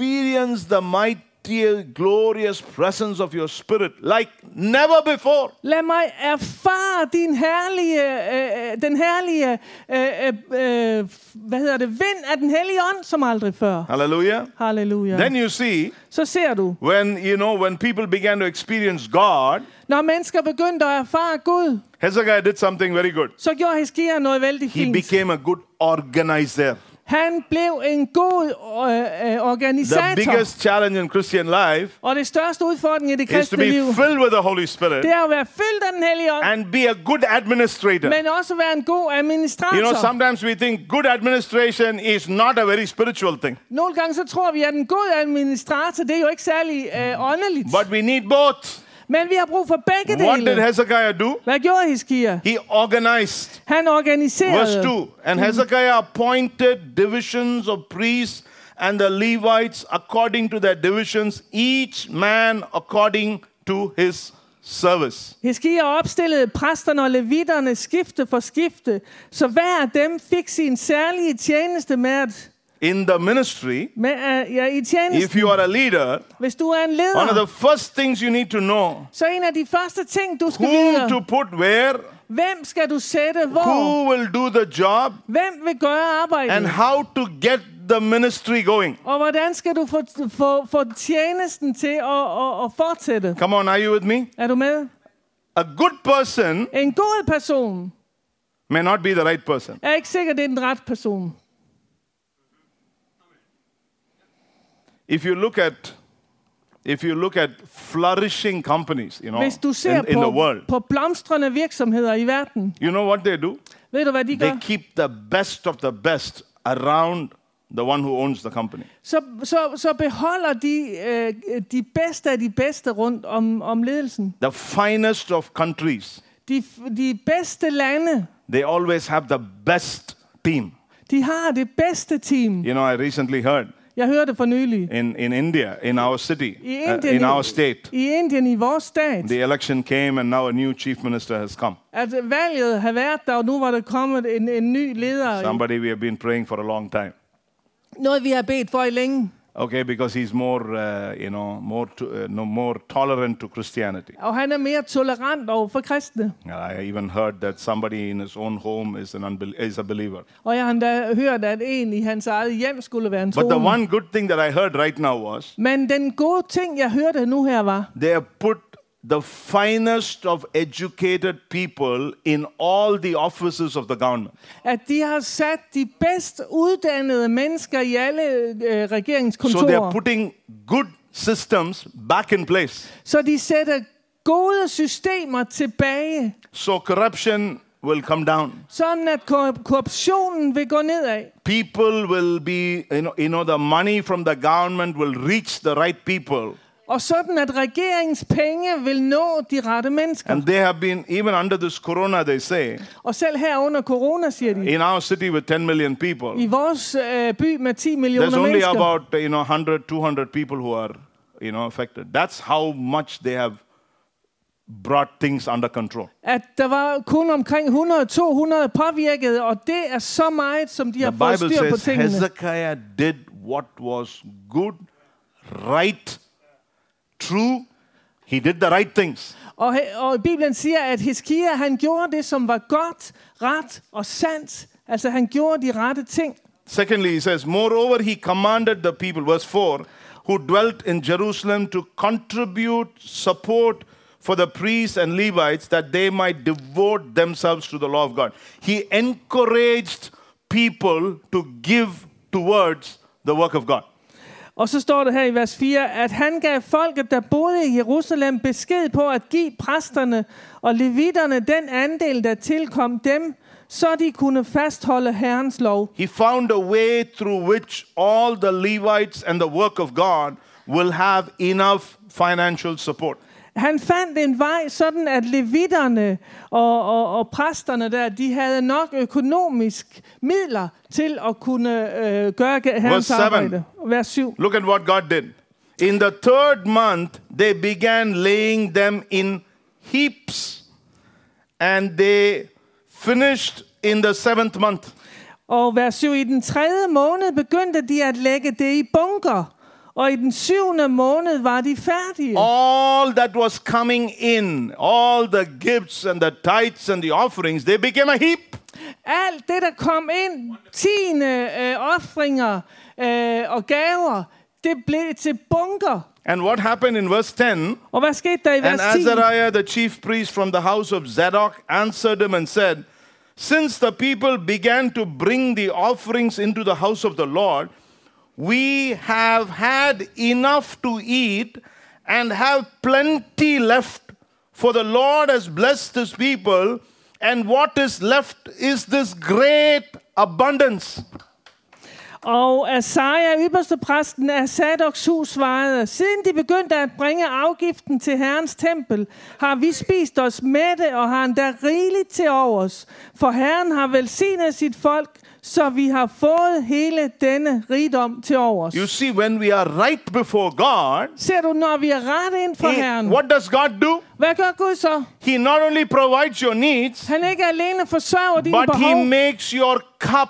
experience the mighty, glorious presence of your spirit like never before.
Lad mig erfare din herlige, øh, øh, den herlige, øh, øh, øh, hvad hedder det, vind af den hellige ånd som aldrig før.
Hallelujah.
Halleluja.
Then you see,
Så ser du,
when you know, when people began to experience God,
når mennesker begyndte at erfare Gud,
Hezekiah did something very good.
så gjorde Heskia noget vældig
He
fint.
became a good organizer.
Han blev en god øh, øh,
The
organisator.
biggest challenge in Christian life
Og det største udfordring i det
is to
kristne liv,
be filled with the Holy Spirit
det er at være fyldt af den hellige ånd,
and be a good administrator.
men også at være en god administrator.
You know, sometimes we think good administration is not a very spiritual thing,
Nogle gange så tror vi, at en god administrator, det er jo ikke særlig øh, åndeligt.
but we need both.
men vi har brug for begge
What did
dele.
Hezekiah do?
Hvad gjorde Hiskia?
He organized.
Han
Verse
organiserede.
2 And Hezekiah appointed divisions of priests and the Levites according to their divisions, each man according to his service.
Hiskia opstillede præsterne og levitterne skifte for skifte, så hver af dem fik sin særlige tjeneste med at
In the ministry,
med, uh, ja, i tjeneste.
if you are a leader,
Hvis du er en
one of
leder,
the first things you need to know
så en af de første ting, du skal
whom to
vide,
put where,
hvem skal du sætte hvor?
who will do the job,
Hvem vil gøre arbejdet?
and how to get the ministry going.
Og hvordan skal du få, få, få tjenesten til at, at, at fortsætte?
Come on, are you with me?
Er du med?
A good person
En god person
may not be the right person.
er ikke sikkert, det er den rette person.
if you look at if you look at flourishing companies you know
Hvis du ser
in, in the
på,
world
på blomstrende virksomheder i verden,
you know what they do
ved du, hvad de
they
gør?
keep the best of the best around the one who owns the company
Så, så, så beholder de øh, de bedste af de bedste rundt om, om ledelsen.
the finest of countries
De, f- de bedste lande,
they always have the best team
de har det bedste team.
you know i recently heard
Jeg hørte for nylig.
in, in india in our city
I
uh,
Indien,
in our state
I Indien, i vores stat,
the election came and now a new chief minister has come
at valget har været der, og nu var der kommet en, en ny leder.
somebody we have been praying for a long time
Noget, vi har bedt for i længe.
okay because he's more uh, you know more to, uh, no, more tolerant to christianity
Og han er mere tolerant over for kristne.
And I even heard that somebody in his own home is, an unbel- is a believer.
Og jeg har endda hørt, at en i hans eget hjem skulle være en
But the
troende.
one good thing that I heard right now was
Men den gode ting, jeg hørte nu her, var,
they have put the finest of educated people in all the offices of the government.
at de har sat de bedst uddannede mennesker i alle øh,
So they are
regeringskontorer.
putting good systems back in place.
Så de sætter gode systemer tilbage,
So corruption will come down.
sådan at korru- korruptionen vil gå nedad.
People will be, you know, you know, the money from the government will reach the right people.
Og sådan at regeringens penge vil nå de rette mennesker.
And they have been, even under this corona, they say,
Og selv her under corona, siger de,
in our city with 10 million people,
i vores øh, by med 10
There's
millioner
only
mennesker,
about you know 100, 200 people who are you know affected. That's how much they have brought things under control.
at der var kun omkring 100-200 påvirket, og det er så meget, som de
The
har fået
Bible
styr på
says
tingene.
Hezekiah did what was good, right, true. He did the right things.
Og, he- og Bibelen siger, at Heskia, han gjorde det, som var godt, ret og sandt. Altså, han gjorde de rette ting.
Secondly, he says, moreover, he commanded the people. Verse 4 who dwelt in Jerusalem to contribute support for the priests and Levites that they might devote themselves to the law of God. He encouraged people to give towards the work of God.
Og så står der her i vers 4, at han gav folket, der boede i Jerusalem, besked på at give præsterne og levitterne den andel, der tilkom dem, så de kunne fastholde Herrens lov.
He found a way through which all the Levites and the work of God will have enough financial support.
Han fandt en vej, sådan at levitterne og, og, og præsterne der, de havde nok økonomisk midler til at kunne øh, gøre Herrens
Vers 7.
arbejde. Vers 7.
Look at what God did. In the third month, they began laying them in heaps, and they finished in the seventh month.
Og vers 7, i den tredje måned begyndte de at lægge det i bunker, og i den syvende måned var de færdige.
All that was coming in, all the gifts and the tithes and the offerings, they became a heap.
Alt det, der kom ind, tiende øh, offringer øh, og gaver, det blev til bunker.
And what happened in verse 10?
Og hvad skete der i
And
vers 10?
Azariah, the chief priest from the house of Zadok, answered him and said, Since the people began to bring the offerings into the house of the Lord, we have had enough to eat and have plenty left, for the Lord has blessed his people, and what is left is this great abundance.
Og Asaja, ypperstepræsten af Sadoks hus, svarede, siden de begyndte at bringe afgiften til Herrens tempel, har vi spist os mætte og har endda rigeligt til overs. For Herren har velsignet sit folk, så vi har fået hele denne rigdom til overs.
You see, when we are right before God,
Ser du, når vi er ret ind for
he-
Herren,
what does God do?
hvad gør Gud så?
He not only provides your needs,
Han ikke alene forsørger dine
But he
behov,
makes your cup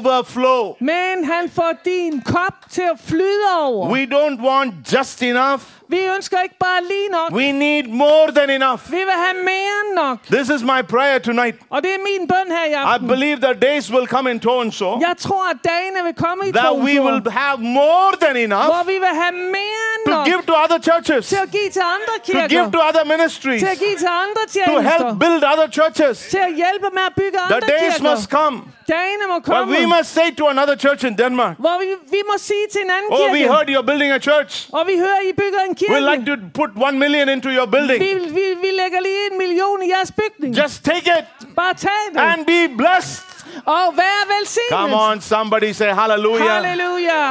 overflow.
men han får din kop til at flyde over.
We don't want just enough.
Vi ønsker ikke bare lige nok.
We need more than enough.
Vi vil have mere end nok.
This is my prayer tonight.
Og det er min bøn her i
I
aften.
believe the days will come in so and so
Jeg tror, at dagene vil komme i
that we
trosord,
will have more than
hvor
enough
vi vil have mere end
to
nok
give to other churches,
til
to
at give til andre kirker,
give to other ministries,
til at
to
give til andre
help
tjenester,
build other churches.
til at hjælpe med at bygge
The
andre
days must
kirker.
come
Dagene må
where
komme,
we must say to another church in Denmark,
hvor vi, vi må sige til en anden
Oh, we
kirke,
heard you're building a church.
og vi hører, I bygger en
We'd like
kirke.
to put one million into your
Vi,
building.
vi, vi lægger lige en million i jeres bygning.
Just take it
Bare tag det.
and be blessed.
Og vær
Come
velsignet.
on, somebody say hallelujah.
Halleluja.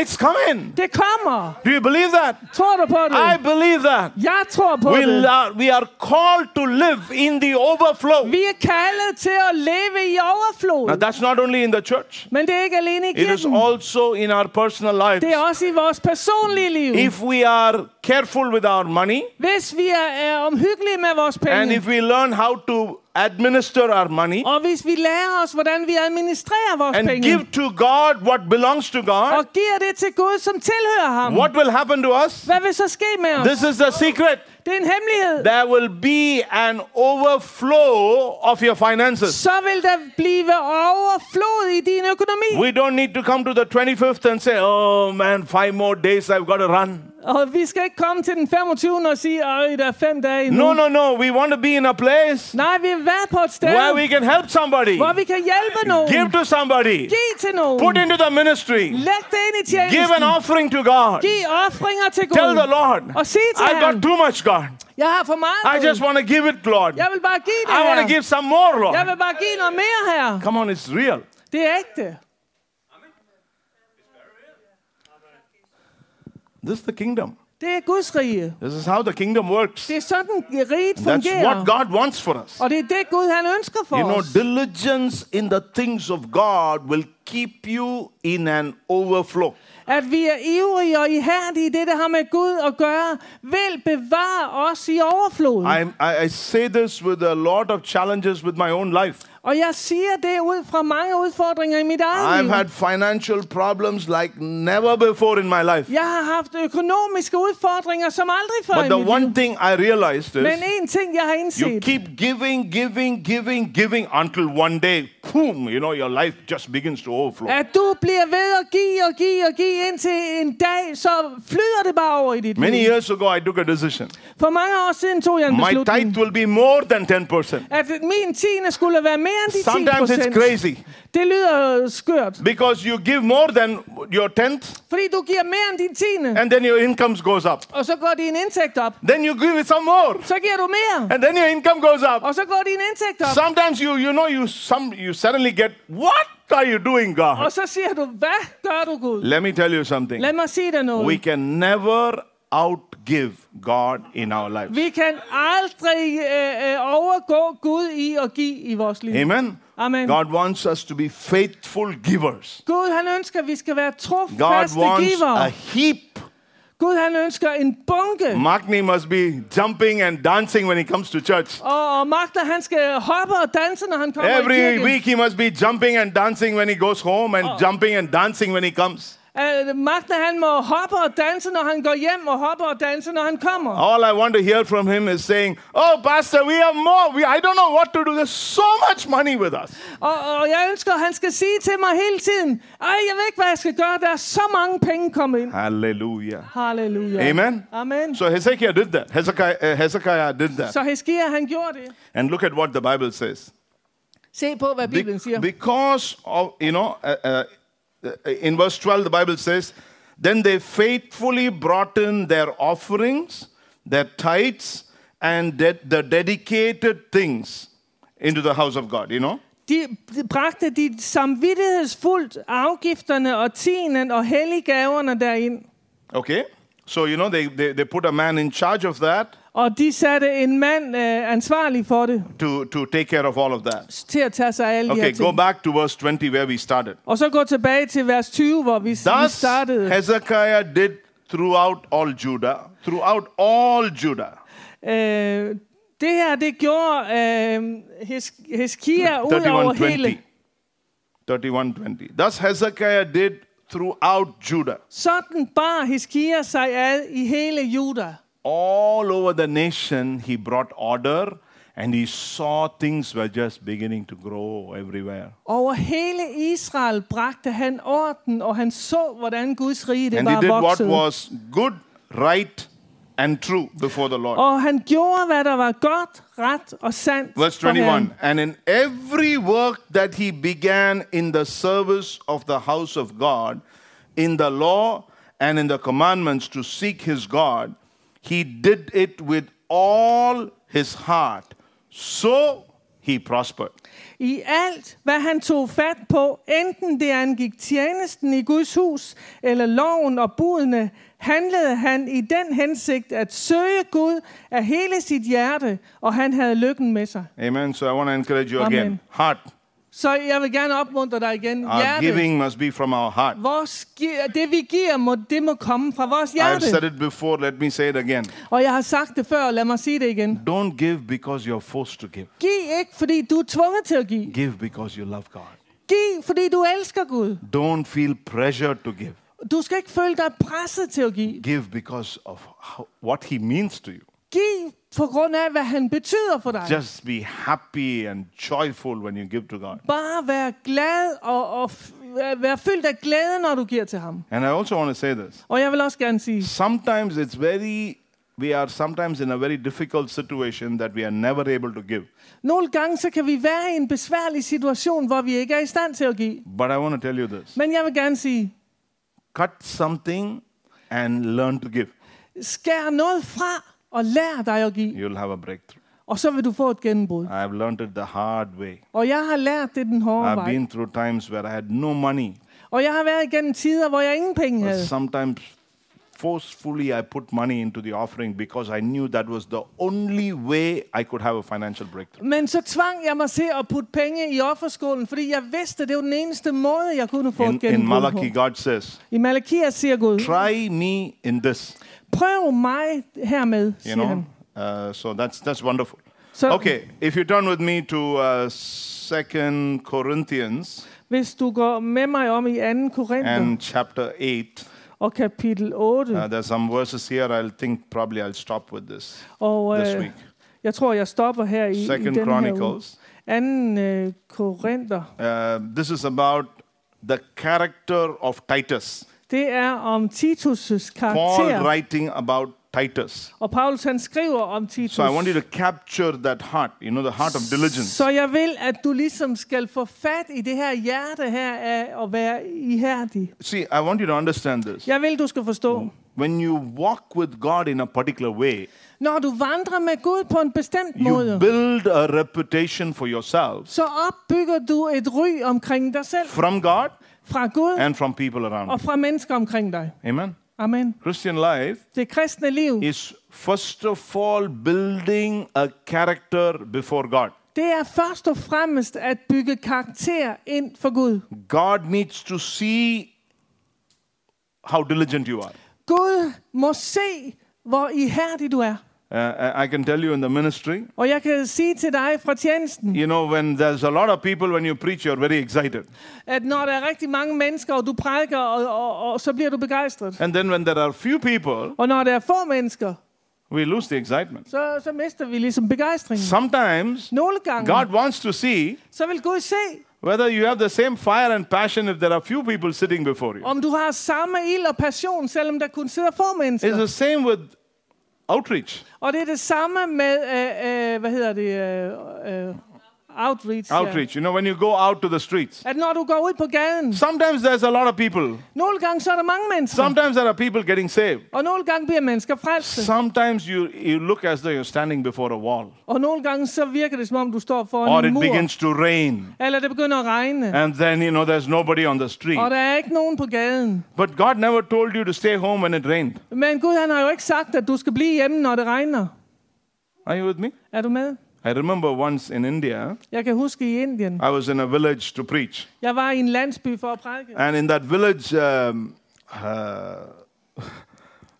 It's coming.
Det kommer.
Do you believe that?
Tror du på
I
det?
believe that.
Jeg tror på
We,
det.
lo- we are called to live in the overflow.
Vi er kaldet til at leve i
Now,
overflod.
that's not only in the church,
Men det er ikke alene i
it is
kirken.
also in our personal lives.
Det er også i vores personlige liv.
If we are careful with our money
Hvis vi er, er omhyggelige med vores
and
penge,
if we learn how to administer our money
og hvis vi lærer os, hvordan vi administrerer vores
and
penge,
give to God what belongs to God,
og giver det til Gud, som tilhører ham,
what will happen to us?
hvad vil så ske med os?
This is the secret.
Det er en hemmelighed.
There will be an overflow of your finances.
Så vil der blive overflod i din økonomi.
We don't need to come to the 25th and say, oh man, five more days, I've got to run.
Og vi skal ikke komme til den 25. og sige, at der er fem dage endnu.
No, no, no. We want to be in a place
Nej, vi har været på et sted,
where we can help somebody,
hvor vi kan hjælpe nogen.
give to somebody,
Giv til nogen.
put into the ministry,
Læg det ind i tjenesten.
give an offering to God.
Giv offringer til Gud.
Tell the Lord,
Og sig til
I've
ham,
got too much, God.
jeg har for meget
I just
Gud.
want to give it, Lord.
Jeg vil bare give det
I want
her.
to give some more,
Jeg
Lord.
vil bare give noget mere her.
Come on, it's real.
Det er ægte.
This is the kingdom.
Det er Guds rige.
This is how the kingdom works.
Det er sådan, riget
That's what
fungerer.
God wants for us.
Og det er det, Gud han ønsker for
You know,
os.
diligence in the things of God will keep you in an overflow.
At vi er ivrige og ihærdige i det, der har med Gud at gøre, vil bevare os i overflod.
I, I, I say this with a lot of challenges with my own life.
Og jeg siger det ud fra mange udfordringer i mit eget
I've
liv.
had financial problems like never before in my life.
Jeg har haft økonomiske udfordringer som aldrig før
But
i
the
mit liv.
one thing I realized
Men
is
en ting, jeg har
you
indset,
keep giving, giving, giving, giving until one day boom, you know, your life just begins to overflow.
At du bliver ved at give og give og give, indtil en dag, så flyder det bare over i dit
Many
liv.
years ago, I took a decision.
For mange år siden tog jeg en
My
beslutning,
tithe will be more than 10%.
at min tiende skulle være mere end de 10
Sometimes it's crazy
Det lyder øh, skørt,
because you give more than your tenth
fordi du giver mere end din tiende,
and then your incomes goes up.
og så går din indtægt op.
Then you give some more
Så giver du mere,
and then your income goes up.
og så går din indtægt op.
Sometimes you you know you some you suddenly get what are you doing God?
Og så siger du, hvad gør du Gud?
Let me tell you something.
Lad mig sige dig
We
noget.
can never outgive God in our lives.
Vi kan aldrig øh, øh, overgå Gud i at give i vores liv.
Amen.
Amen.
God wants us to be faithful givers.
Gud han ønsker, at vi skal være
God wants
trofaste
a
givere.
heap.
Gud han ønsker en bunke.
Magni must be jumping and dancing when he comes to church.
Og, og Magda, han skal hoppe og danse, når han kommer i
Every
kirke.
week he must be jumping and dancing when he goes home and jumping and dancing when he comes.
Uh, Magda, han må hoppe og danse, når han går hjem, og hoppe og danse, når han kommer.
All I want to hear from him is saying, Oh, Pastor, we have more. We, I don't know what to do. There's so much money with us.
Og, og jeg ønsker, at han skal sige til mig hele tiden, ej, jeg ved ikke, hvad jeg skal gøre. Der er så mange penge kommet ind.
Hallelujah.
Halleluja.
Amen.
Amen.
So Hezekiah did that. Hezekiah, uh, Hezekiah did that.
Så Heskia, han gjorde det.
And look at what the Bible says.
Se på, hvad
Be-
Bibelen siger.
because of, you know, uh, uh, uh, in verse 12, the Bible says, Then they faithfully brought in their offerings, their tithes, and de- the dedicated things into the house of God, you know.
De bragte de samvittighedsfuldt afgifterne og tienden og helliggaverne derind.
Okay? So, you know, they, they, they put a man in charge of that
Og de satte en mand øh, ansvarlig for det,
to, to take care of all of that.
til at tage sig af alle de
Okay,
her
go
ting.
back to verse 20 where we started.
Og så gå tilbage til vers 20, hvor vi, vi
Thus
startede.
Hezekiah did throughout all Judah, throughout all Judah.
Øh, det her, det gjorde øh, Hes- Heskia ud over
3120.
hele.
3120. Thus Hezekiah did throughout Judah,
Sådan bar Heskia sig ad i hele Juda.
all over the nation, he brought order and he saw things were just beginning to grow everywhere.
Over hele Israel bragte han orden, og han så, hvordan Guds rige det
and he did
var
what
vokset.
was good, right, and true before the Lord.
Og han gjorde, hvad der var godt, ret og sandt
Verse
for Herren.
21 And in every work that he began in the service of the house of God, in the law and in the commandments to seek his God, he did it with all his heart. So he prospered.
I alt, hvad han tog fat på, enten det angik tjenesten i Guds hus, eller loven og budene, handlede han i den hensigt at søge Gud af hele sit hjerte, og han havde lykken med sig.
Amen. So I want to encourage you again.
Amen.
Heart.
Så jeg vil gerne opmuntre dig igen.
Our
Hjerte.
giving must be from our heart.
Vores, gi- det vi giver, må, det må komme fra vores
I've said
hjerte.
it before, let me say it again.
Og jeg har sagt det før, lad mig sige det igen.
Don't give because you're forced to give.
Giv ikke, fordi du er tvunget til at give.
Give because you love God.
Giv, fordi du elsker Gud.
Don't feel pressure to give.
Du skal ikke føle dig presset til at give.
give because of how, what he means to you.
Giv på grund af, hvad han betyder for dig.
Just be happy and joyful when you give to God.
Bare vær glad og, og f- vær- vær fyldt af glæde, når du giver til ham.
And I also want to say this.
Og jeg vil også gerne sige,
Sometimes it's very, we are sometimes in a very difficult situation that we are never able to give.
nogle gange så kan vi være i en besværlig situation, hvor vi ikke er i stand til at give.
But I want to tell you this
Men jeg vil gerne sige,
cut something and learn to give.
skær noget fra og lær dig at give,
You'll have a breakthrough.
og så vil du få et gennembrud.
I've learned it the hard way.
Og jeg har lært det den hårde
I've
vej.
been through times where I had no money.
Og jeg har været igennem tider, hvor jeg ingen penge
But
havde.
sometimes forcefully I put money into the offering because I knew that was the only way I could have a financial breakthrough.
Men så tvang jeg mig til at putte penge i offerskålen, fordi jeg vidste, det var den eneste måde, jeg kunne få
In,
et
in
gennembrud på.
Malachi, God says,
I Malakias siger Gud,
"Try me in this."
prøv mig hermed,
You
siger
know,
han.
uh, so that's that's wonderful.
So-
okay, if you turn with me to uh, Second Corinthians
Hvis du går med mig om i 2. Korinther
and chapter eight,
og kapitel 8,
uh, there's some verses here. I'll think probably I'll stop with this
og øh,
this week.
jeg tror, jeg stopper her i, i
Second
den her uge.
Chronicles
anden øh, Korinther.
Uh, this is about the character of Titus.
Det er om Titus'
Paul
karakter.
writing about Titus.
Og Paulus han skriver om Titus.
So I want you to capture that heart, you know, the heart of diligence.
Så jeg vil, at du ligesom skal få fat i det her hjerte her af at være ihærdig.
See, I want you to understand this.
Jeg vil, du skal
Mm.
forstå.
When you walk with God in a particular way,
Når du vandrer med Gud på en bestemt
you
måde,
build a reputation for yourself
så opbygger du et ry omkring dig selv.
from God
Fra Gud
and from people around.
og
you.
fra mennesker omkring dig.
Amen.
Amen.
Christian life
Det kristne liv,
is first of all building a character before God.
det er først og fremmest at bygge karakter ind for Gud.
God needs to see how diligent you are. Uh,
Gud må se, hvor ihærdig du er.
Uh, I- I can tell you in the ministry,
Og jeg kan sige til dig fra tjenesten,
you know, when there's a lot of people, when you preach, you're very excited.
at når der er rigtig mange mennesker, og du prædiker, og, og, og så bliver du begejstret.
And then when there are few people,
Og når der er få mennesker,
we lose the excitement.
så, så mister vi ligesom begejstringen.
Sometimes
Nogle gange,
God wants to see
så vil Gud se,
whether you have the same fire and passion if there are few people sitting before you.
om du har samme ild og passion, selvom der kun sidder få mennesker.
It's the same with outreach.
Og det er det samme med, øh, øh, hvad hedder det, øh, øh, outreach. ja.
Outreach, you know, when you go out to the streets.
At når du går ud på gaden,
Sometimes there's a lot of people.
nogle gange så er der mange mennesker,
Sometimes there are people getting saved.
og nogle gange bliver mennesker frelst.
Sometimes you, you look as though you're standing before a wall.
Og nogle gange så virker det, som om du står
Or
foran en
it
mur,
begins to rain.
eller det begynder at regne,
And then, you know, there's nobody on the street.
og der er ikke nogen på gaden.
But God never told you to stay home when it rained.
Men Gud han har jo ikke sagt, at du skal blive hjemme, når det regner.
Are you with me?
Er du med?
I remember once in India,
Jeg kan huske i Indien.
I was in a village to preach.
Jeg var i en landsby for at prædike.
And in that village, um, uh,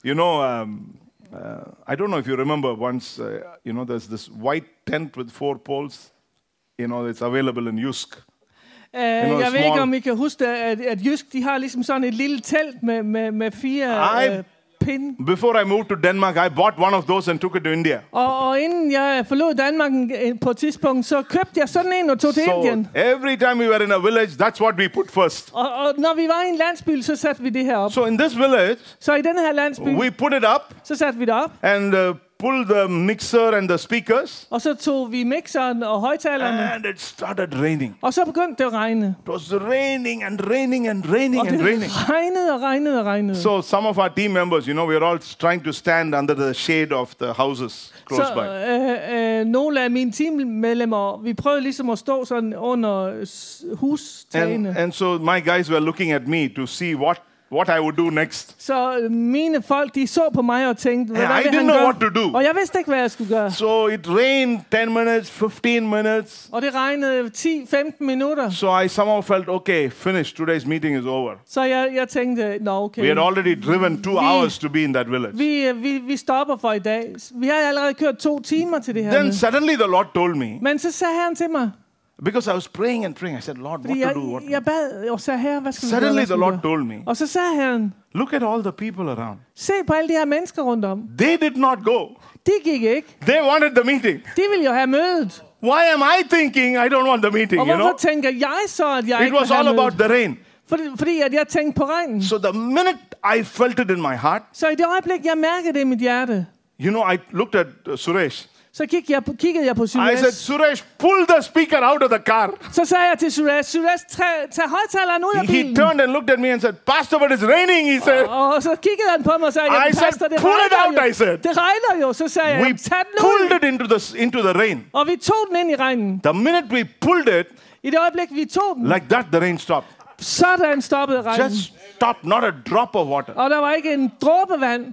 you know, um, uh, I don't know if you remember once, uh, you know, there's this white tent with four poles. You know, it's available in Yusk.
Uh,
noget
jeg ved
small-
ikke, om I kan huske, det, at, at Jysk de har ligesom sådan et lille telt med, med, med fire
Ej.
øh, pinde.
Before I moved to Denmark, I bought one of those and took it to India.
Og, og inden jeg forlod Danmark en- en- på et tidspunkt, så købte jeg sådan en og tog til so, Indien.
every time we were in a village, that's what we put first.
Og, og når vi var i en landsby, så satte vi det her op.
So in this village,
Så i den her landsby,
we put it up
så satte vi det op.
and uh, pulled the mixer and the speakers,
Og så tog vi mixeren og højtalerne.
and it started raining.
Og så begyndte det at regne.
It was raining and raining and raining
Og det
and raining.
regnede og regnede og regnede.
So some of our team members, you know, we are all trying to stand under the shade of the houses close
så
by.
øh, øh, nogle af mine teammedlemmer, vi prøvede ligesom at stå sådan under s-
And,
hustagene.
and so my guys were looking at me to see what, what I would do next.
Så øh, mine folk, de så på mig og tænkte, hvad
And I
vil
didn't
han
know
gøre?
what to do.
Og jeg vidste ikke, hvad jeg skulle gøre.
So it rained 10 minutes, 15 minutes.
Og det regnede 10-15 minutter.
So I somehow felt, okay, finished. Today's meeting is over.
Så jeg, jeg tænkte, nå okay,
We had already driven two
We-
hours to be in that village.
vi, øh, vi, vi stopper for i dag. Vi har allerede kørt to timer til det her.
Then
møde.
suddenly the Lord told me,
Men så sagde han til mig,
because I was praying and praying, I said, Lord, what
fordi
to
jeg,
do? What to do?
jeg bad og sagde, herre, hvad skal vi gøre?
Suddenly the
Hvad skal vi gøre?
Lord told me,
Og så sagde han,
look at all the people around.
se på alle de her mennesker rundt om.
They did not go.
De gik ikke.
They wanted the meeting.
De ville jo have mødet.
Why am I thinking I don't want the meeting?
Og
You
hvorfor
know,
tænker jeg så, at jeg
it
ikke vil
was
have
all
mødet?
about the rain.
Fordi, fordi at jeg tænkte på regnen.
So the minute I felt it in my heart,
Så i det øjeblik, jeg mærkede det i mit hjerte,
you know, I looked at uh, Suresh.
så kiggede jeg på, kiggede jeg på
I
Suresh.
said, Suresh, pull the speaker out of the car.
Så sagde jeg til Suresh, Suresh, tag, tag højtaleren ud
He
af bilen.
turned and looked at me and said, Pastor, but it's raining. He said,
Og så kiggede han på mig og sagde,
I
jamen
said,
pastor, det
pull it
regner
out,
jo.
I said.
Det regner jo. Så sagde jeg,
we
"Jamen, tag den ud.
pulled it into the s- into the rain.
Og vi tog den ind i regnen.
The minute we pulled it,
I det øjeblik, vi tog den,
like that, the rain stopped.
sådan stoppede regnen.
Just stopped, not a drop of water.
Og der var ikke en dråbe vand.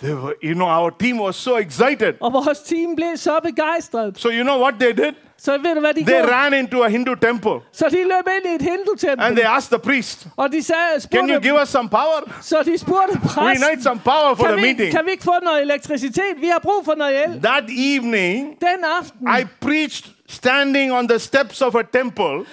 They were, you know, our team was so excited.
Og vores team blev så begejstret.
So you know what they did?
Så ved du, hvad de
They
gjorde?
ran into a Hindu temple
Så de løb ind i et
and they
hindutempel.
asked the priest,
Og de sagde,
Can you
spurgte,
give us some power?
så de spurgte
We
præsten,
need some power for the
kan vi,
meeting.
kan vi ikke få noget elektricitet? Vi har brug for noget el.
That evening,
Den aften
I preached standing on the steps of a temple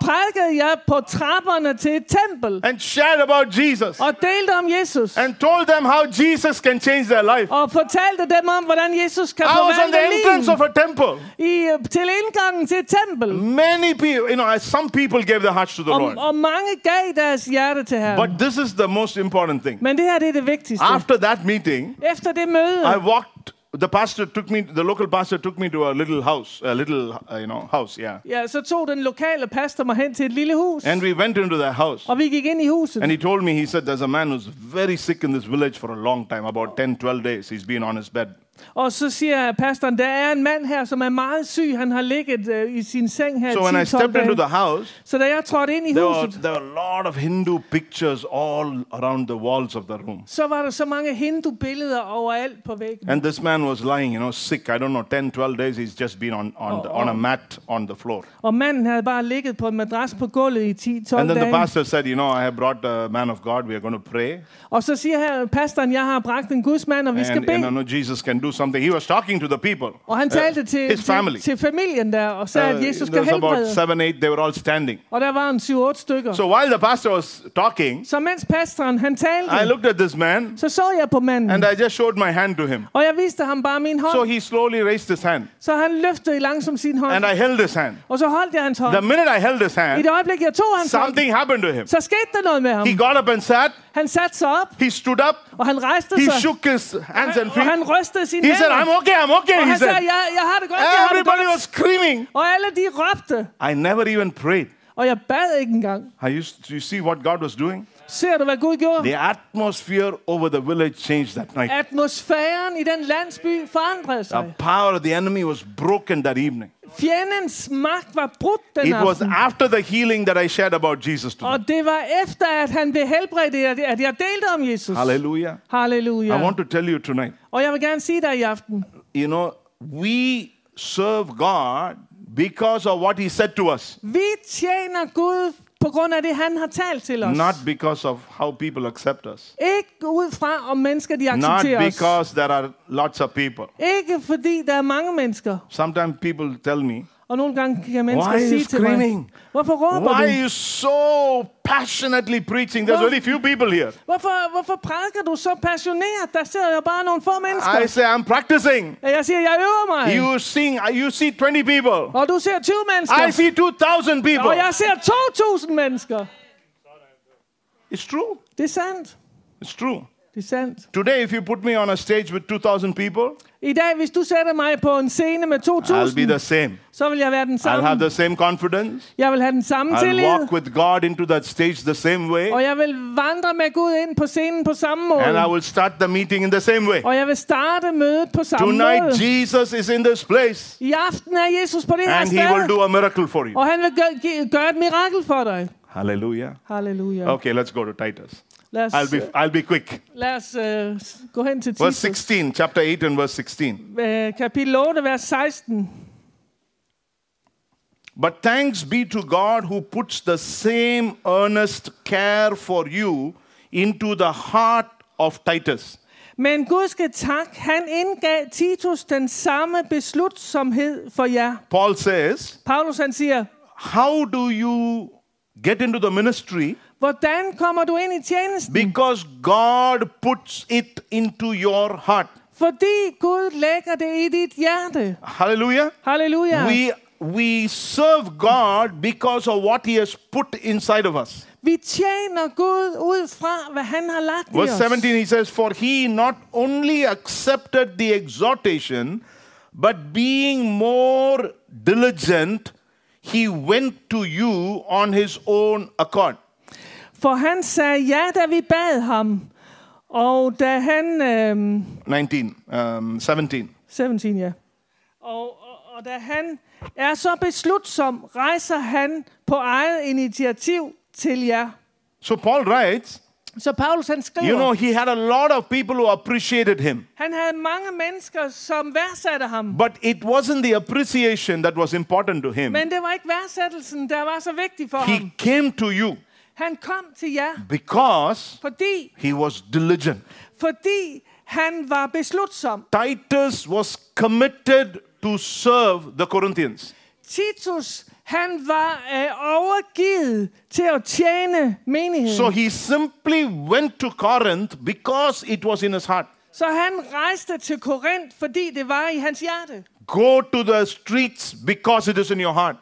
prædikede jeg på trapperne til et tempel
and shared about Jesus
og delte om Jesus.
and told them how Jesus can change their life.
Og fortalte dem om, hvordan Jesus kan
I was on the
forvandle
entrance of
livet
a temple.
i, øh, til indgangen til et tempel.
Many people, you know, as some people gave their hearts to the
Og,
Lord.
og mange gav deres hjerte til Herren.
But this is the most important thing.
Men det her det er det vigtigste.
After that meeting,
Efter det møde,
I walked. The pastor took me. The local pastor took me to a little house, a little, uh, you know, house. Yeah.
ja, så tog den lokale pastor mig hen til et lille hus.
And we went into that house.
Og vi gik ind i huset.
And he told me, he said, there's a man who's very sick in this village for a long time, about 10, 12 days. He's been on his bed.
Og så siger pastoren, der er en mand her, som er meget syg. Han har ligget øh, i sin seng her
So when I
10-12
stepped into
dage.
the house,
Så da jeg trådte ind i
there were,
huset,
there were a lot of Hindu pictures all around the walls of the room.
så var der så mange hindu-billeder overalt på væggen.
And this man was lying, you know, sick. I don't know, 10, 12 days. He's just been on, on, the, on a mat on the floor.
Og manden havde bare ligget på en madras på gulvet i 10-12
And then the
dage.
pastor said, you know, I have brought a man of God. We are going to pray.
Og så siger her, pastoren, jeg har bragt en gudsmand, og vi skal
And, and I
bede.
know Jesus can do something. He was talking to Oh, the people. uh,
Og han talte til,
his family.
til, til familien der, og
Uh,
sagde, at Jesus
there
skal
was about
helbrede.
seven, eight. They were all standing.
Og der var en 7-8 stykker.
So while the pastor was talking,
Så mens pastoren, han
I
talte,
looked at this man
så så jeg på manden.
and I just showed my hand to him.
Og jeg viste ham bare min
So
hånd.
he slowly raised his hand
Så han løftede langsomt sin hånd.
and I held his hand.
Og så holdt jeg hans hånd.
The minute I held his
I
hand,
det øjeblik, jeg tog hans hånd,
something happened to him.
så skete der noget med ham.
He got up and sat,
Han satte sig op,
he stood up,
og han rejste
he
sig.
shook his hands and
Og
feet.
han rystede sine
He said, I'm
hænder.
okay, I'm okay.
Og
He
han sagde,
said,
jeg, jeg har det godt, jeg har det
everybody was
godt.
screaming.
Og alle de råbte,
I never even prayed.
og jeg bad ikke engang.
I used to you see what God was doing?
Ser du, hvad Gud gjorde?
The atmosphere over the village changed that night.
Atmosfæren i den landsby forandrede
The
sig.
power of the enemy was broken that evening.
Fjendens magt var brudt den
It was
aften.
after the healing that I shared about Jesus to them.
Og det var efter, at han blev helbredt, at at jeg delte om Jesus.
Hallelujah.
Halleluja.
I want to tell you tonight,
Og jeg vil gerne sige dig i aften,
you know, we serve God because of what He said to us,
vi tjener Gud på grund af det, han har talt til os.
not because of how people accept us,
Ikke ud fra, om mennesker de
not
accepterer os.
because there are lots of people.
Ikke fordi der er mange mennesker.
Sometimes people tell me,
Og nogle gange kan mennesker
Why are you
sige til mig,
screaming?
hvorfor råber
Why are
du?
you so passionately preaching? There's
Well-
only few people here.
Hvorfor, hvorfor prædiker du så passioneret? Der sidder jo bare nogle få mennesker.
I say, I'm practicing.
Og jeg siger, jeg øver mig.
You sing, uh, you see 20 people.
Og du ser 20 mennesker.
I see 2,000 people.
Og jeg ser 2.000 mennesker.
It's true.
Det er sandt.
It's true.
Det er sandt.
Today, if you put me on a stage with 2,000 people,
I dag, hvis du sætter mig på en scene med
I'll be
2.000,
the same.
så vil jeg være den
I'll
samme.
have the same confidence.
Jeg vil have den samme
I'll
tillid.
walk with God into that stage the same way.
Og jeg vil vandre med Gud ind på scenen på samme
And I
måde.
will start the meeting in the same way.
Og jeg vil starte mødet på samme
Tonight,
måde.
Jesus is in this place.
I aften er Jesus på det her
And he will
sted.
do a miracle for you.
Og han vil gøre, gi- gøre et mirakel for dig.
Hallelujah.
Halleluja.
Okay, let's go to Titus.
Lad os,
I'll be, I'll be quick.
lad os øh, s- gå hen til
Verse
Titus.
16, chapter 8 and verse 16.
Øh, kapitel 8, vers 16.
But thanks be to God who puts the same earnest care for you into the heart of Titus.
Men Gud skal tak, han indgav Titus den samme beslutsomhed for jer.
Paul says,
Paulus han siger,
How do you get into the ministry?
hvordan kommer du ind i tjenesten?
Because God puts it into your heart.
Fordi Gud lægger det i dit hjerte.
Hallelujah.
Halleluja.
We we serve God because of what he has put inside of us.
Vi tjener Gud ud fra, hvad han har lagt i
Verse
os.
17, he says, For he not only accepted the exhortation, but being more diligent, he went to you on his own accord.
For han sagde ja, da vi bad ham. Og da han... Øh,
19, um, 17.
17, ja. Og, og, og da han er så beslutsom, rejser han på eget initiativ til jer.
So Paul writes,
Så Paulus han skriver,
you know, he had a lot of people who appreciated him,
han havde mange mennesker, som værdsatte ham.
but it wasn't the appreciation that was important to him.
Men det var ikke værdsættelsen, der var så vigtig for
He
ham.
came to you
Han kom til jer,
because
fordi,
he was diligent.
fordi han var beslutsom.
Titus was committed to serve the Corinthians.
Titus, han var øh, overgivet til at tjene menigheden.
So
Så,
he simply went to Corinth because it was in his heart.
så han rejste til Korinth, fordi det var i hans hjerte.
Go to the streets because it is in your heart.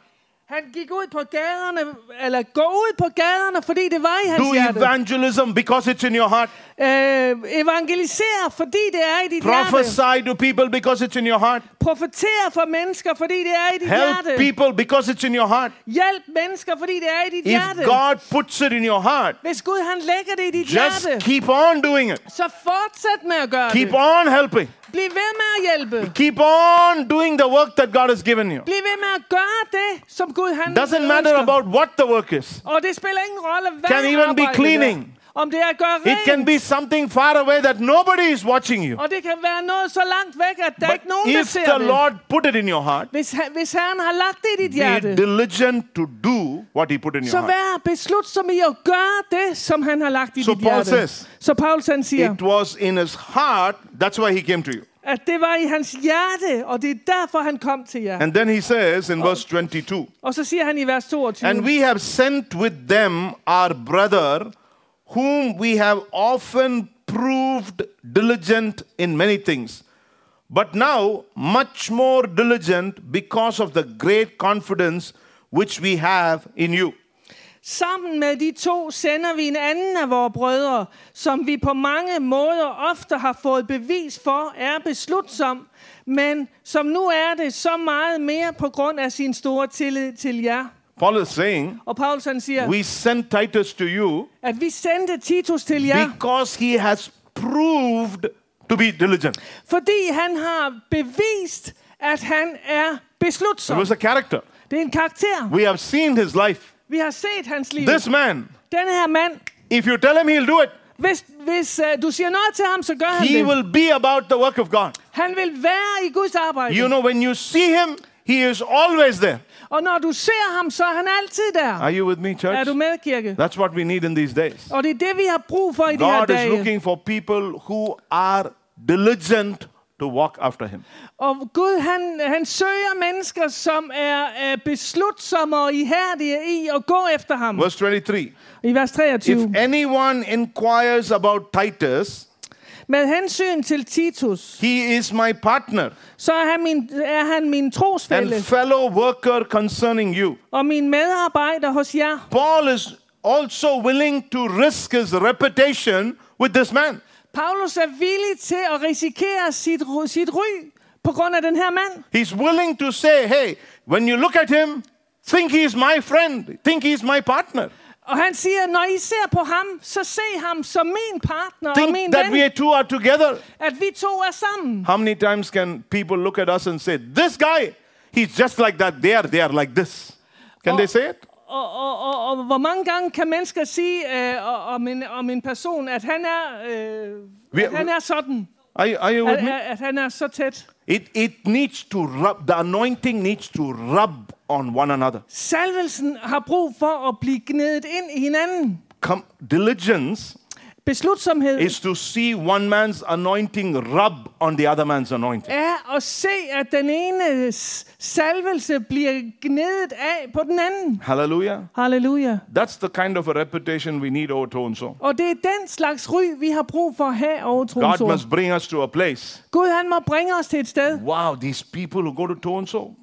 Han gik ud på gaderne, eller gå ud på gaderne, fordi det var i hans
Do
hjerte.
evangelism because it's in your heart.
Øh, evangelisere, fordi det er i dit hjerte.
Prophesy to people because it's in your heart.
Profetere for mennesker, fordi det er i dit hjerte.
Help people because it's in your heart.
Hjælp mennesker, fordi det er i dit hjerte.
If God puts it in your heart,
Hvis Gud han lægger det i dit
just
hjerte,
keep on doing it.
så fortsæt med at gøre
Keep
det.
on helping.
Bliv ved med at hjælpe.
Keep on doing the work that God has given you.
Bliv ved med at gøre det, som Gud han
Doesn't matter
ønsker.
about what the work is.
Og det spiller ingen rolle, hvad
Can even be
arbejdet
cleaning.
er. Om det er at gøre
It can
rent,
be something far away that nobody is watching you.
og det kan være noget så langt væk, at der
But
ikke nogen, der
if
ser
the
det.
Lord put it in your heart,
Hvis, han, hvis han har lagt det i dit
be
hjerte,
diligent to do what He put in
så
your heart.
vær beslutsom i at gøre det, som han har lagt i
So
dit
Paul
hjerte.
says,
så Paulus han siger,
It was in his heart, that's why he came to you.
at det var i hans hjerte, og det er derfor, han kom til jer.
And then he says in verse 22,
og så siger han i vers 22,
And we have sent with them our brother, whom we have often proved diligent in many things, but now much more diligent because of the great confidence which we have in you.
Sammen med de to sender vi en anden af vores brødre, som vi på mange måder ofte har fået bevis for er beslutsom, men som nu er det så meget mere på grund af sin store tillid til jer.
Paul is saying,
Og Paulus han siger,
We sent Titus to you
at vi sendte Titus til jer,
because he has proved to be diligent.
fordi han har bevist, at han er
It
beslutsom.
was a character.
Det er en karakter.
We have seen his life.
Vi har set hans liv.
This man,
Den her mand,
if you tell him he'll do it,
hvis, hvis uh, du siger noget til ham, så gør han
he
det.
will be about the work of God.
Han vil være i Guds arbejde.
You know, when you see him, he is always there.
Og når du ser ham, så er han altid der.
Are you with me,
Er
church?
du med, kirke?
That's what we need in these days.
Og det er det, vi har brug for i de her
God is
dage.
looking for people who are diligent to walk after him.
Og Gud, han, han søger mennesker, som er øh, beslutsomme og ihærdige i at gå efter ham.
Verse 23
I vers 23.
If anyone inquires about Titus,
Med hensyn til Titus,
he is my partner
så er han min, er han min trosfælde
and fellow worker concerning you.
og min medarbejder hos jer.
Paul is also willing to risk his reputation with this man.
Paulus er villig til at risikere sit, ry- sit ry på grund af den her mand.
He's willing to say, hey, when you look at him, think he's my friend, think he's my partner.
Og han siger, når I ser på ham, så se ham som min partner og min
Think that
ven.
we two are together.
at vi to er sammen.
How many times can people look at us and say, this guy, he's just like that. They are, they are like this. Can they say it?
Og, og, og, og hvor mange gange kan mennesker sige øh, og- om, en, om en person, at han er, øh,
Vi-
at han er sådan,
Are, you- are you
at,
with me?
at, at han er så tæt.
It, it needs to rub, the anointing needs to rub on one another.
Salvelsen har brug for at blive gnedet ind i hinanden.
Come, diligence
Beslutsomhed
is to see one man's anointing rub on the other man's anointing.
er at se, at den ene salvelse bliver gnedet af på den anden.
Hallelujah.
Halleluja.
That's the kind of a reputation we need oh, over to and so.
Og det er den slags ry, vi har brug for at have over
God
troens ord.
must bring us to a place.
Gud han må bringe os til et sted.
Wow, these people who go to so and so,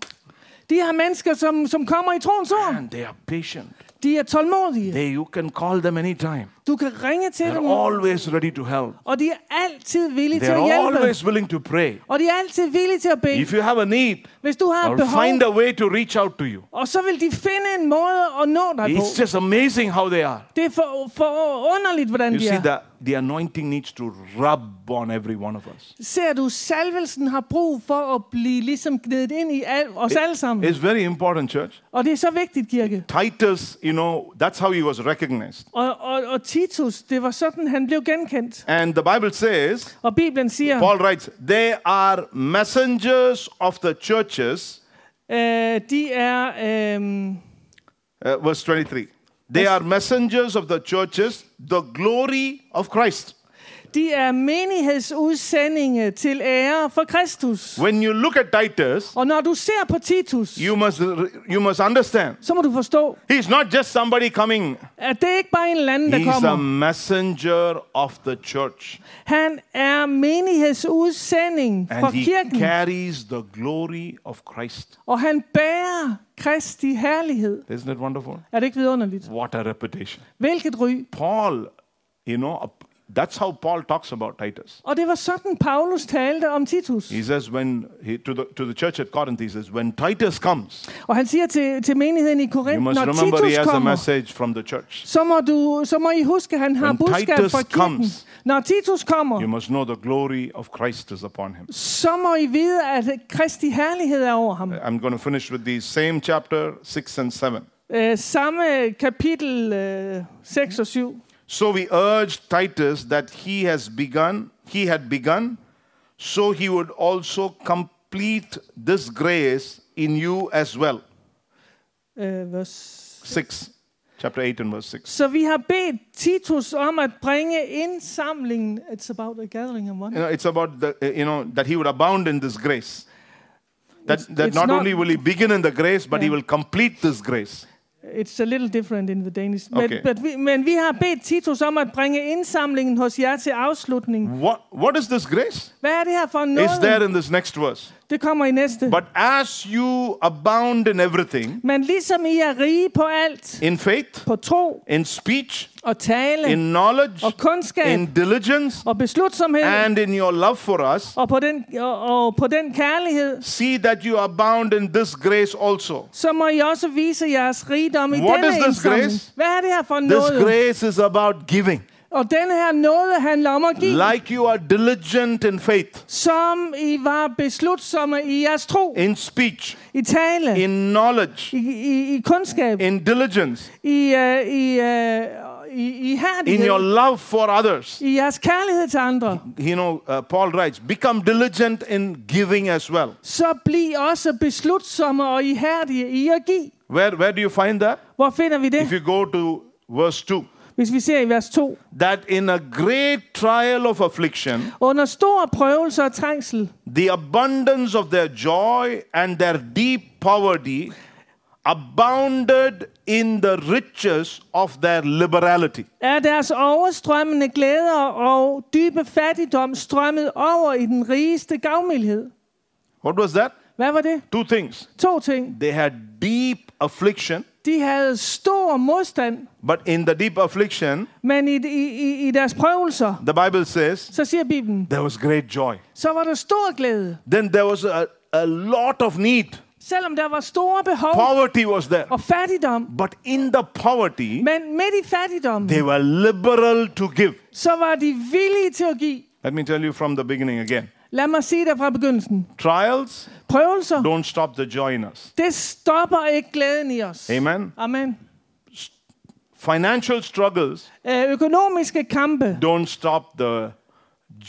De her mennesker, som, som kommer i troens ord,
and they are patient.
de er tålmodige.
They, you can call them anytime.
Du kan ringe til
They're
dem,
always ready to help.
og de er altid villige til
They're
at hjælpe.
always willing to pray.
Og de er altid villige til at bede.
If you have a need,
Hvis du har et
I'll find
behov,
a way to reach out to you.
og så vil de finde en måde at nå dig på.
It's just amazing how they are.
Det er for, for underligt, hvordan
You
de
see,
er.
the, the anointing needs to rub on every one of us.
Ser du, salvelsen har brug for at blive ligesom gnedet ind i al, os alle sammen.
It's very important, church.
Og det er så vigtigt, Kirke.
Titus, you know, that's how he was recognized.
Og, og, og Titus, det var sådan, han blev genkendt.
And the Bible says,
Og Bibelen siger,
Paul writes, they are messengers of the churches,
øh, de er... Øh,
uh, verse 23. They are messengers of the churches, the glory of Christ.
De er menighedsudsendinge til ære for Kristus.
When you look at Titus,
Og når du ser på Titus,
you must, you must understand
så må du forstå,
he's not just somebody coming,
at det er ikke bare en eller anden, der
he's a
kommer.
messenger of the church.
Han er menighedsudsending fra
And he
kirken,
carries the glory of Christ.
og han bærer Kristi herlighed.
Isn't it wonderful?
Er det ikke vidunderligt?
What a reputation.
Hvilket ry.
Paul, you know, ap- that's how Paul talks about Titus.
Og det var sådan, Paulus talte om Titus.
He says when he, to, the, to the church at Corinth, he says, when Titus comes,
Og han siger til, til menigheden i
you
Korinth,
must
når
remember he
Titus
has a
kommer,
message from the church.
så må, du, så må I huske, at han har
When
budskab
Titus
fra kirken.
comes,
Når Titus
You
kommer,
must know the glory of Christ is upon him.
så må I vide, at Kristi herlighed er over ham.
I'm going to finish with the same chapter 6 and 7.
Øh, samme kapitel øh, 6 og 7.
So we urge Titus that he has begun, he had begun, so he would also complete this grace in you as well.
Øh, vers
6, chapter 8 and verse 6.
Så vi har bedt Titus om at bringe indsamlingen, it's about a gathering of money,
You know, it's about the, uh, you know, that he would abound in this grace. That,
It's-
that
it's
not,
not-
only will he begin in the grace, but he
Yeah.
will complete this grace.
it's a little different in the Danish, men,
Okay.
but vi, men vi har bedt Titus om at bringe indsamlingen hos jer til afslutning.
What, what is this grace?
Hvad er det her for en
It's there
noget?
in this next verse.
Det kommer i næste.
But as you abound in everything,
Men ligesom I er rige på alt,
in faith,
på tro
in speech,
og tale
in knowledge,
og kundskab
in diligence,
og beslutsomhed
and in your love for us,
og på, den, og, og på den kærlighed,
see that you abound in this grace also.
så må I også vise jeres rigdom i
What is
denne
this
indsamling.
grace?
Hvad er det her for en
This
noget?
grace is about giving.
Og denne her noget handler om at give.
Like you are diligent in faith,
som I var beslutsomme i jeres tro,
in speech,
i tale,
in knowledge,
i, i, i kundskab,
in diligence,
i, uh, i, uh, i, i
in your
herlighed,
love for others.
i jeres kærlighed til andre,
You know, uh, Paul writes, become diligent in giving as well.
så bliv også beslutsomme og ihærdige i at give.
Where, where do you find that?
Hvor finder vi
If
det?
you go to verse 2,
Hvis vi ser i vers 2.
that in a great trial of affliction,
Under stor prøvelse og trængsel
the abundance of their joy and their deep poverty abounded in the riches of their liberality.
er deres overstrømmende glæder og dybe fattigdom strømmet over i den rigeste gavmildhed.
What was that?
Hvad var det?
Two things.
To ting.
They had deep affliction,
De havde stor modstand
but in the deep affliction,
Men i, i, i- i deres prøvelser,
the Bible says
så siger Bibelen,
there was great joy.
så var der stor glæde.
Then there was a, a lot of need,
Selvom der var store behov
poverty was there.
og fattigdom.
But in the poverty,
Men midt i fattigdommen,
they were liberal to give.
så var de villige til at give.
Let me tell you from the beginning again
Lad mig sige det fra begyndelsen.
trials
Prøvelser,
don't stop the joy in us.
det stopper ikke glæden i os.
Amen.
Amen.
Financial struggles
Øh, økonomiske kampe,
don't stop the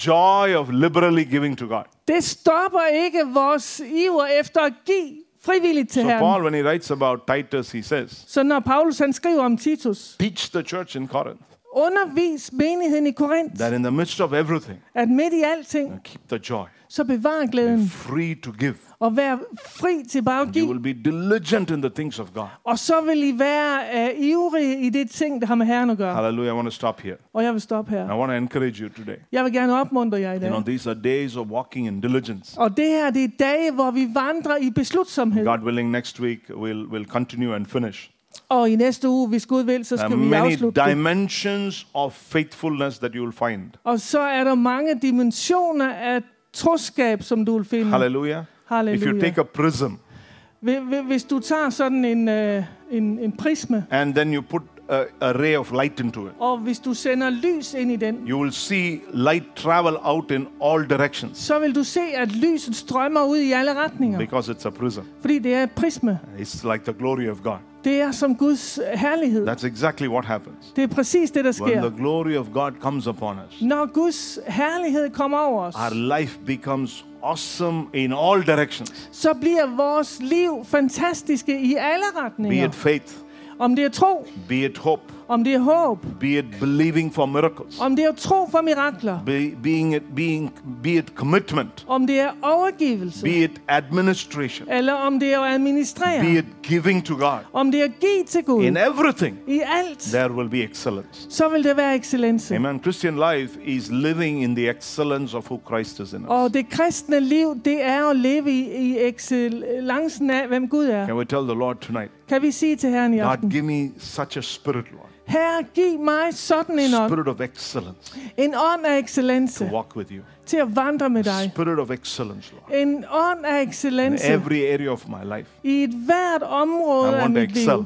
joy of liberally giving to God.
det stopper ikke vores iver efter at give frivilligt til
So, Paul,
Herren.
when he writes about Titus, he says,
Så når Paulus han skriver om Titus,
Teach the church in Corinth
undervis menigheden i Korinth,
that in the midst of everything,
at midt i alting,
keep the joy,
så bevar glæden.
free to give.
og være fri til bare at
You will
give,
be diligent in the things of God.
og så vil I være uh, ivrige i det ting, der har med Herren at gøre.
Hallelujah. I want to stop here.
Og jeg vil stoppe her.
I want to encourage you today.
Jeg vil gerne opmuntre jer i
You know,
dag.
these are days of walking in diligence.
Og det her, det er dage, hvor vi vandrer i beslutsomhed.
God willing, next week we'll, we'll continue and finish.
Og i næste uge, hvis Gud vil, så
There
skal
are
vi
many
afslutte det.
dimensions of faithfulness that you will find.
Og så er der mange dimensioner af troskab, som du vil finde.
Hallelujah. If you
Mm. Hallelujah.
take a prism
Hvi- hvi- Hvis du tager sådan en, øh, en, en prisme,
and then you put a, a ray of light into it,
og hvis du sender lys ind i den,
you will see light travel out in all directions
så vil du se, at lyset strømmer ud i alle retninger.
because it's a prism.
Fordi det er et prisme.
It's like the glory of God.
Det er som Guds herlighed.
That's exactly what happens.
Det er præcis det, der
When the
sker.
glory of God comes upon us,
Når Guds herlighed kommer over os,
our life becomes awesome in all directions
så bliver vores liv fantastiske i alle
be it
retninger.
faith,
Om det er tro,
be it hope,
om det er håb,
be it believing for miracles,
om det er tro for mirakler,
be, being it, being, be it commitment,
om det er overgivelse,
be it administration,
eller om det er at
be
administrere,
it giving to God.
om det er at give til Gud.
In everything,
I alt,
there will be excellence.
så vil det være excellence.
Amen. Christian life is living in the excellence of who Christ is in us.
Og det kristne liv, det er at leve i, i excellancen af, hvem Gud er.
Can we tell the Lord tonight,
Kan vi sige til Herren i
God,
aften,
give me such a spirit, Lord,
Herre, giv mig sådan en ånd,
spirit of excellence
en ånd af
to
excellence,
walk with you,
til at vandre med dig.
spirit of excellence, Lord,
En ånd af
in
excellence
every area of my life.
i et hvert område
I
af
want to
mit liv.
excel.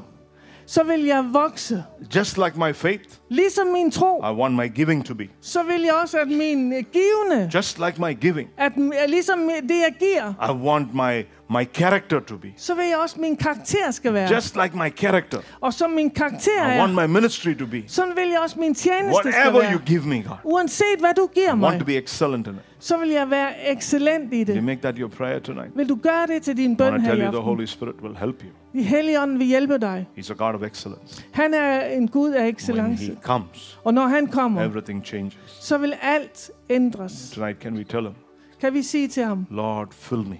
Så vil jeg vokse.
Just like my faith,
Ligesom min tro,
I want my giving to be.
så vil jeg også, at min øh, givende,
Just like my giving,
at m- at ligesom det, jeg giver,
I want my my character to be.
så vil jeg også, at min karakter skal være.
Just like my character,
Og som min karakter
I want
er,
my ministry to be.
sådan vil jeg også, min tjeneste skal
Whatever you
være.
give me, God,
Uanset hvad du giver
I want
mig,
to be excellent in it.
så vil jeg være excellent i
Can you
det.
make that your prayer tonight?
Vil du gøre det til din
I
bøn
want to
her
tell
i
you the
aften?
Holy Spirit will help you.
I Helligånden vil hjælpe dig.
He's a God of excellence.
Han er en Gud af
When He
excellence.
comes,
Og når han kommer,
everything changes.
så vil alt ændres.
Tonight, can we tell Him,
Kan vi sige til ham,
Lord, fill me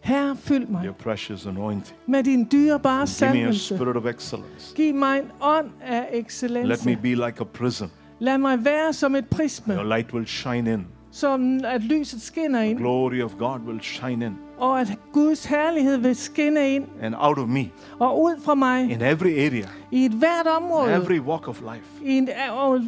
Herre, fyld mig
your precious anointing.
med din dyrebare
Give me a
salvelse.
spirit of excellence.
Giv mig en ånd af
Let me
excellence.
be like a prism.
Lad mig være som et prisme,
Your light will shine in.
som at lyset skinner ind,
Glory of God will shine in
og at Guds herlighed vil skinne ind
and out of me
og ud fra mig
in every area,
i et hvert område,
every walk of life.
i en, og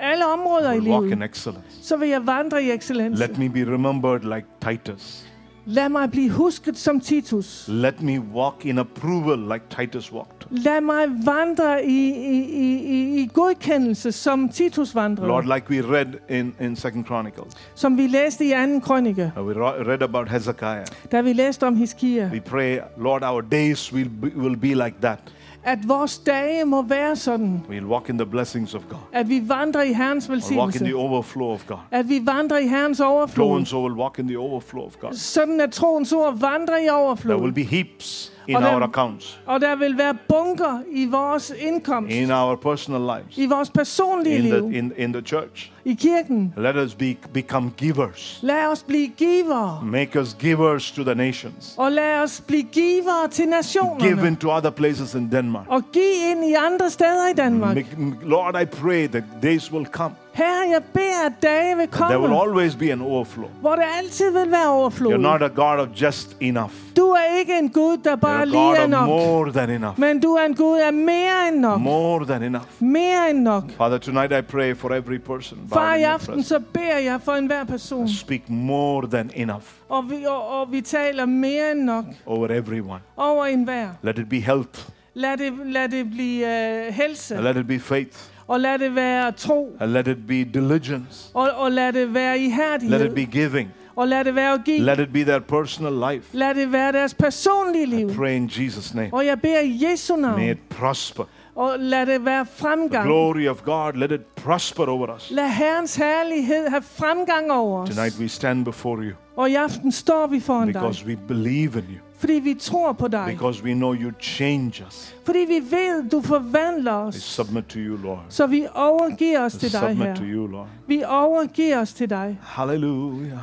alle områder i
Will walk
livet.
in excellence.
Så vil jeg vandre i excellence.
Let me be remembered like Titus.
Lad mig blive husket som Titus.
Let me walk in approval like Titus walked.
Lad mig vandre i, i, i, i, i godkendelse, som Titus vandrede,
Lord, like we read in, in Second Chronicles,
som vi læste i 2. krønike,
uh, we ro- read about Hezekiah.
da vi læste om Hiskia,
We pray, Lord, our days will be, will be like that.
at vores dage må være sådan,
We'll walk in the blessings of God.
at vi vandrer i Herrens
We'll walk in
velsignelse,
the overflow of God.
at vi vandrer i Herrens
So
overflod,
and so will walk in the overflow of God.
sådan at troens ord vandrer i
There will
overflod,
be heaps in
Og der-
our accounts,
og der vil være bunker i vores indkomst,
in our personal lives,
i vores personlige
in the,
liv,
in, in the church.
i kirken.
Let us be, become givers.
Lad os blive givere,
Make us givers to the nations.
og lad os blive givere til
Give
nationerne.
into other places in Denmark.
og give ind i andre steder i Danmark.
Make- m- Lord, I pray that days will come.
Herre, jeg beder, at dage vil
There
komme,
will always be an overflow.
hvor der altid vil være overflod.
You're not a God of just enough.
Du er ikke en Gud, der
You're
bare
a
lige
God
er
of
nok,
more than enough.
men du er en Gud af mere end nok.
More than enough.
Mere end nok.
Father, tonight I pray for every person. bowed
Far
in
i
your
aften,
presence.
så beder jeg for enhver person,
Speak more than enough
og vi, og, og vi taler mere end nok
over everyone.
over enhver.
Let it be health.
Lad det, lad det blive øh, helse,
and Let it be faith.
og lad det være tro,
and Let it be diligence.
og, og lad det være
Let it
ihærdighed,
be giving.
og lad det være at give.
Let it be their personal life.
Lad det være deres personlige liv.
Pray in Jesus' name.
Og jeg beder i Jesu
May
navn,
it prosper.
og lad det være
The
fremgang.
glory of God, let it prosper over us.
Lad Herrens herlighed have fremgang over os.
Tonight we stand before you
Og i aften står vi foran dig,
because we believe in you,
fordi vi tror på dig.
because we know you change us.
Fordi vi ved, du forvandler
We
os.
submit to you, Lord.
Så vi overgiver os
We
til dig,
submit to
her.
you, Lord.
Vi overgiver os til dig.
Hallelujah.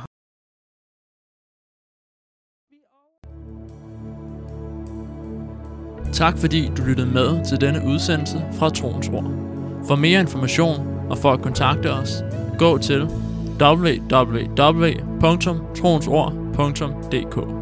Tak fordi du lyttede med til denne udsendelse fra Troens Ord. For mere information og for at kontakte os, gå til www.troensord.dk